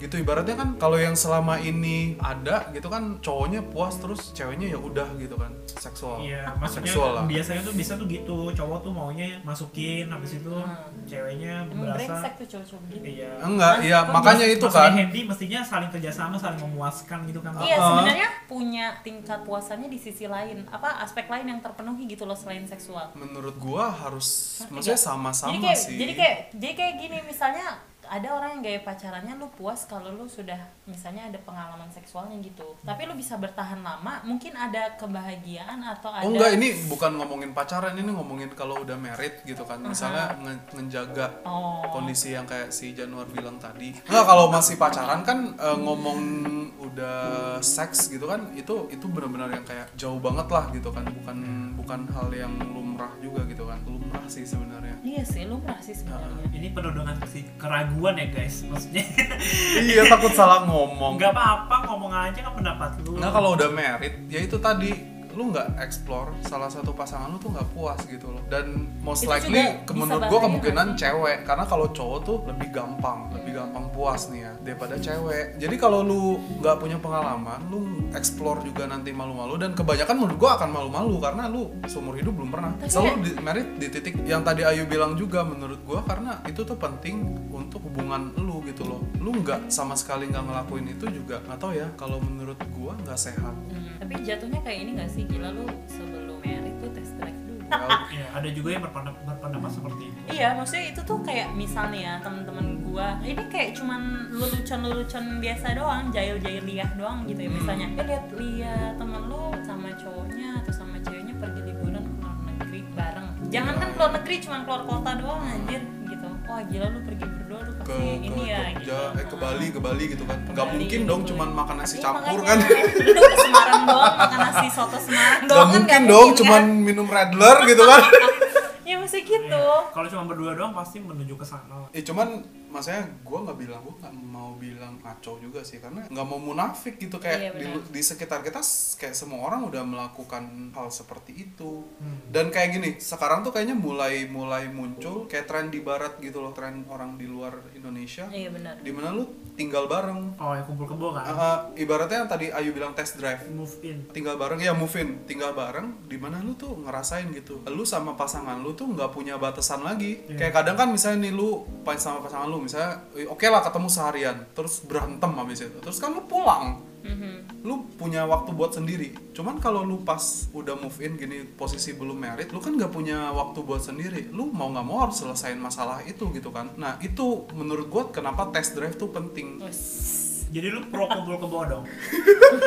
Speaker 1: Hmm.
Speaker 3: gitu ibaratnya kan kalau yang selama ini ada gitu kan cowoknya puas terus ceweknya ya udah gitu kan seksual
Speaker 1: Iya, maksudnya
Speaker 3: seksual lah.
Speaker 1: biasanya tuh bisa tuh gitu, cowok tuh maunya masukin, habis itu
Speaker 2: Hmm.
Speaker 1: ceweknya
Speaker 2: Emang brengsek
Speaker 1: berasa
Speaker 2: tuh cowok-cowok gitu
Speaker 1: iya.
Speaker 3: enggak iya
Speaker 2: Kan
Speaker 3: makanya itu kan
Speaker 1: Handy mestinya saling kerjasama, saling memuaskan gitu kan.
Speaker 2: Iya
Speaker 3: Uh-uh.
Speaker 2: sebenarnya punya tingkat puasannya di sisi lain apa aspek lain yang terpenuhi gitu loh selain seksual
Speaker 3: kan. menurut gua harus
Speaker 2: Ngerti
Speaker 3: maksudnya
Speaker 2: nggak?
Speaker 3: sama-sama
Speaker 2: jadi kayak,
Speaker 3: sih
Speaker 2: Jadi kayak jadi kayak gini misalnya ada orang yang gaya pacarannya lu puas kalau lu sudah misalnya ada pengalaman seksualnya gitu. Tapi lu bisa bertahan lama, mungkin ada kebahagiaan atau ada
Speaker 3: Oh enggak ini bukan ngomongin pacaran ini ngomongin kalau udah married gitu kan misalnya nge- ngejaga
Speaker 2: Oh.
Speaker 3: kondisi yang kayak si Januar bilang tadi nggak kalau masih pacaran kan eh, ngomong udah seks gitu kan itu itu benar-benar yang kayak jauh banget lah gitu kan bukan bukan hal yang lumrah juga gitu kan lumrah sih sebenarnya
Speaker 2: Iya sih, lu sih
Speaker 3: Nah.
Speaker 2: sebenarnya.
Speaker 1: Ini penuh dengan kesi- keraguan ya guys, maksudnya *laughs*
Speaker 3: iya takut salah ngomong
Speaker 1: nggak apa-apa ngomong aja kan pendapat lu.
Speaker 3: Nah kalau udah married, ya itu tadi lu nggak explore salah satu pasangan lu tuh nggak puas gitu loh dan most
Speaker 2: Itu juga
Speaker 3: likely ke-
Speaker 2: bisa ya,
Speaker 3: menurut
Speaker 2: bahaya
Speaker 3: gua kemungkinan
Speaker 2: nggak sih?
Speaker 3: cewek karena kalau cowok tuh lebih gampang lebih gampang puas nih ya daripada cewek jadi kalau lu nggak punya pengalaman lu explore juga nanti malu-malu dan kebanyakan menurut gua akan malu-malu karena lu seumur hidup belum pernah
Speaker 2: Tapi
Speaker 3: selalu
Speaker 2: kayak-
Speaker 3: di married di titik yang tadi Ayu bilang juga menurut gua karena itu tuh penting untuk hubungan lu gitu loh lu nggak sama sekali nggak ngelakuin itu juga nggak tahu ya kalau menurut gua nggak sehat
Speaker 2: Hmm, Tapi jatuhnya kayak ini gak sih gila lu sebelum married tuh test drive dulu.
Speaker 3: Ya,
Speaker 1: Iya, ada juga yang berpendap- berpendapat seperti itu.
Speaker 2: Iya, maksudnya itu tuh kayak misalnya ya teman-teman gua, ini kayak cuman lelucon-lelucon biasa doang, jahil-jahil liah doang gitu ya
Speaker 3: Hmm.
Speaker 2: misalnya. Eh lihat lihat temen lu sama cowoknya atau sama ceweknya pergi liburan ke luar negeri bareng. Jangan kan keluar negeri cuman keluar kota doang anjir gitu. Wah, gila lu pergi berdua lu
Speaker 3: ke
Speaker 2: pasti ini
Speaker 3: ke
Speaker 2: ya gitu.
Speaker 3: Jogja, eh ke Bali, ke Bali gitu kan.
Speaker 2: Ke
Speaker 3: Nggak
Speaker 2: Bali,
Speaker 3: mungkin
Speaker 2: ke
Speaker 3: dong
Speaker 2: Bali.
Speaker 3: cuman makan nasi
Speaker 2: Iya,
Speaker 3: campur kan.
Speaker 2: *laughs* makanya. Lu ke Semarang doang makan nasi soto Semarang doang
Speaker 3: Nggak
Speaker 2: kan
Speaker 3: mungkin
Speaker 2: nggak
Speaker 3: dong
Speaker 2: mungkin,
Speaker 3: cuman
Speaker 2: kan?
Speaker 3: minum Redler gitu kan. *laughs*
Speaker 2: Ya mesti
Speaker 1: Iya.
Speaker 2: gitu.
Speaker 1: Kalau cuma berdua doang pasti menuju ke sana. lah.
Speaker 3: Eh cuman maksudnya gue nggak bilang gue nggak mau bilang ngaco juga sih karena nggak mau munafik gitu kayak
Speaker 2: Iya,
Speaker 3: di,
Speaker 2: benar.
Speaker 3: di sekitar kita s- kayak semua orang udah melakukan hal seperti itu
Speaker 1: Hmm.
Speaker 3: dan kayak gini sekarang tuh kayaknya mulai mulai muncul kayak tren di barat gitu loh tren orang di luar Indonesia
Speaker 2: Iya benar.
Speaker 3: dimana lu tinggal bareng
Speaker 1: oh yang kumpul kebo kan
Speaker 3: Ah, ah, ibaratnya yang tadi Ayu bilang test drive
Speaker 1: move in
Speaker 3: tinggal bareng ya move in tinggal bareng di mana lu tuh ngerasain gitu lu sama pasangan lu tuh nggak punya batasan lagi
Speaker 1: Iya.
Speaker 3: kayak kadang kan misalnya nih lu pas- sama pasangan lu misalnya eh, oke lah ketemu seharian terus berantem habis itu terus kan lu pulang
Speaker 2: Mhm.
Speaker 3: lu punya waktu buat sendiri cuman kalau lu pas udah move in gini posisi belum married lu kan nggak punya waktu buat sendiri lu mau nggak mau harus selesain masalah itu gitu kan nah itu menurut gua kenapa test drive tuh penting
Speaker 2: Wes.
Speaker 1: jadi lu pro kumpul kebo
Speaker 3: *laughs*
Speaker 1: dong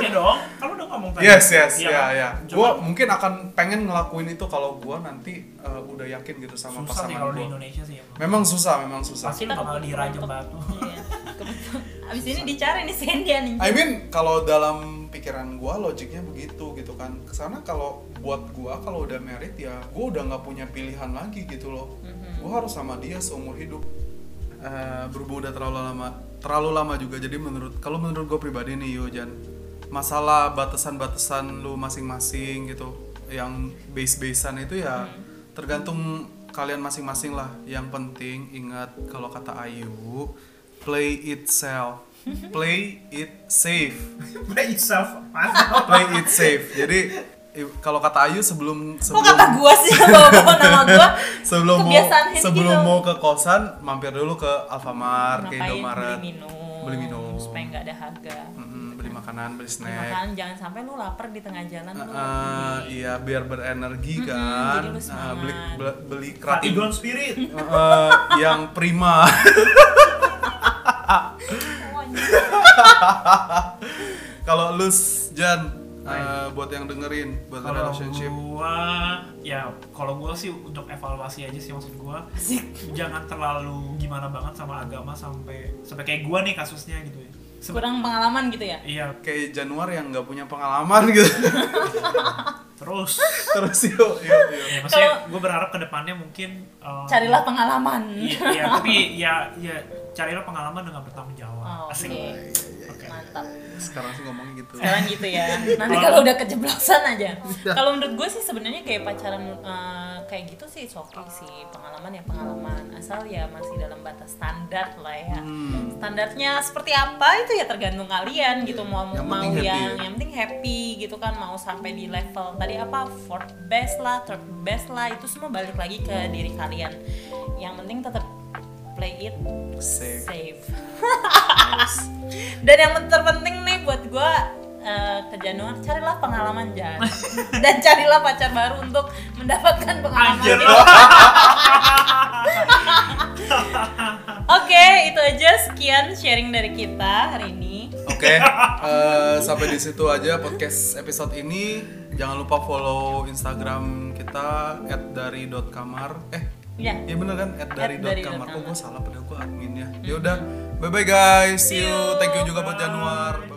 Speaker 1: ya dong kalau udah ngomong tadi
Speaker 3: Yes, yes, ya,
Speaker 1: Iya
Speaker 3: ya.
Speaker 1: kan?
Speaker 3: Gua
Speaker 1: Cuma
Speaker 3: mungkin akan pengen ngelakuin itu kalau gua nanti uh, udah yakin gitu sama
Speaker 1: susah sih
Speaker 3: pasangan
Speaker 1: kalau di
Speaker 3: gua.
Speaker 1: Indonesia sih ya
Speaker 3: Memang susah, memang susah.
Speaker 1: pasti lu bakal dirajam
Speaker 3: *laughs*
Speaker 1: batu
Speaker 2: Iya. Kebetulan. Abis ini dicari nih Sendia nih.
Speaker 3: I mean, kalau dalam pikiran gua logiknya begitu gitu kan. Kesana kalau buat gua kalau udah married ya, gua udah nggak punya pilihan lagi gitu loh.
Speaker 1: Mm-hmm.
Speaker 2: Mhm.
Speaker 3: Gua harus sama dia seumur hidup. Eh, berhubung udah terlalu lama, terlalu lama juga. Jadi menurut kalau menurut gua pribadi nih Yojan, masalah batasan-batasan lu masing-masing gitu, yang base-basean itu ya
Speaker 2: Hmm.
Speaker 3: tergantung kalian masing-masing lah. Yang penting ingat kalau kata Ayu, play it safe. Play it safe
Speaker 1: play yourself mantap
Speaker 3: play it safe. Jadi i- kalau kata Ayu sebelum
Speaker 2: Kok
Speaker 3: sebelum
Speaker 2: kata gua sih yang bawa-bawa nama gua?
Speaker 3: sebelum mau
Speaker 2: kebiasaan ini
Speaker 3: sebelum
Speaker 2: gitu.
Speaker 3: mau ke kosan mampir dulu ke Alfamart, ke
Speaker 2: Ngapain
Speaker 3: Indomaret.
Speaker 2: beli minum?
Speaker 3: Beli minum.
Speaker 2: supaya nggak ada harga.
Speaker 3: Mm-mm, beli makanan, beli
Speaker 2: Beli
Speaker 3: snack.
Speaker 2: Makanan jangan sampai lu lapar di tengah jalan
Speaker 3: Eh,
Speaker 2: lu.
Speaker 3: eh,
Speaker 2: beli.
Speaker 3: iya biar berenergi
Speaker 2: Mm-mm,
Speaker 3: kan.
Speaker 2: jadi lu
Speaker 3: Eh,
Speaker 2: semangat.
Speaker 3: beli beli- beli
Speaker 1: Kati
Speaker 3: keratin
Speaker 1: Ground Spirit
Speaker 3: Eh, eh, yang prima. *laughs*
Speaker 2: Oh, anjing.
Speaker 3: kalau lu s- Jan eh,
Speaker 1: Nah.
Speaker 3: buat yang dengerin buat
Speaker 1: kalau
Speaker 3: relationship.
Speaker 1: gua ya kalau gua sih untuk evaluasi aja sih maksud gua
Speaker 2: Asik.
Speaker 1: jangan terlalu gimana banget sama agama sampai sampai kayak gua nih kasusnya gitu ya Sebe-
Speaker 2: Kurang pengalaman gitu ya?
Speaker 1: iya
Speaker 3: Kayak Januar yang nggak punya pengalaman *laughs* gitu.
Speaker 1: terus
Speaker 3: Terus yuk yuk yuk.
Speaker 2: *laughs*
Speaker 1: ya, maksudnya gua berharap kedepannya mungkin eh,
Speaker 2: Carilah pengalaman.
Speaker 1: Iya, iya, tapi ya ya carilah pengalaman dengan bertanggung jawab.
Speaker 2: Oh, Oke.
Speaker 1: Asik.
Speaker 2: Mantap.
Speaker 3: Sekarang sih ngomongnya gitu.
Speaker 2: sekarang gitu ya nanti kalau udah keceplosan aja kalau menurut gue sih sebenarnya kayak pacaran eh, kayak gitu sih oke sih pengalaman ya pengalaman asal ya masih dalam batas standar lah ya
Speaker 3: Hmm.
Speaker 2: standarnya seperti apa itu ya tergantung kalian gitu mau
Speaker 3: Yang
Speaker 2: mau
Speaker 3: penting happy
Speaker 2: yang
Speaker 3: ya.
Speaker 2: yang penting happy gitu kan mau sampai di level tadi apa fourth best lah third best lah itu semua balik lagi ke diri kalian yang penting tetap play it
Speaker 3: Safe.
Speaker 2: safe *laughs* dan yang terpenting nih buat gua eh, ke Januar carilah pengalaman Jan dan carilah pacar baru untuk mendapatkan pengalaman
Speaker 1: Anjir
Speaker 2: itu.
Speaker 1: lo.
Speaker 2: *laughs* Oke itu aja sekian sharing dari kita hari ini.
Speaker 3: Oke, eh, sampai di situ aja podcast episode ini. Jangan lupa follow Instagram kita @dari.kamar. Eh,
Speaker 2: Ya
Speaker 3: iya bener kan @dari.kamar. Kok
Speaker 2: @dari.kamar.
Speaker 3: gue salah padahal gue adminnya. Ya udah, bye bye Ya guys.
Speaker 2: See
Speaker 3: See you.
Speaker 2: you.
Speaker 3: Thank you juga buat Januar. Bye.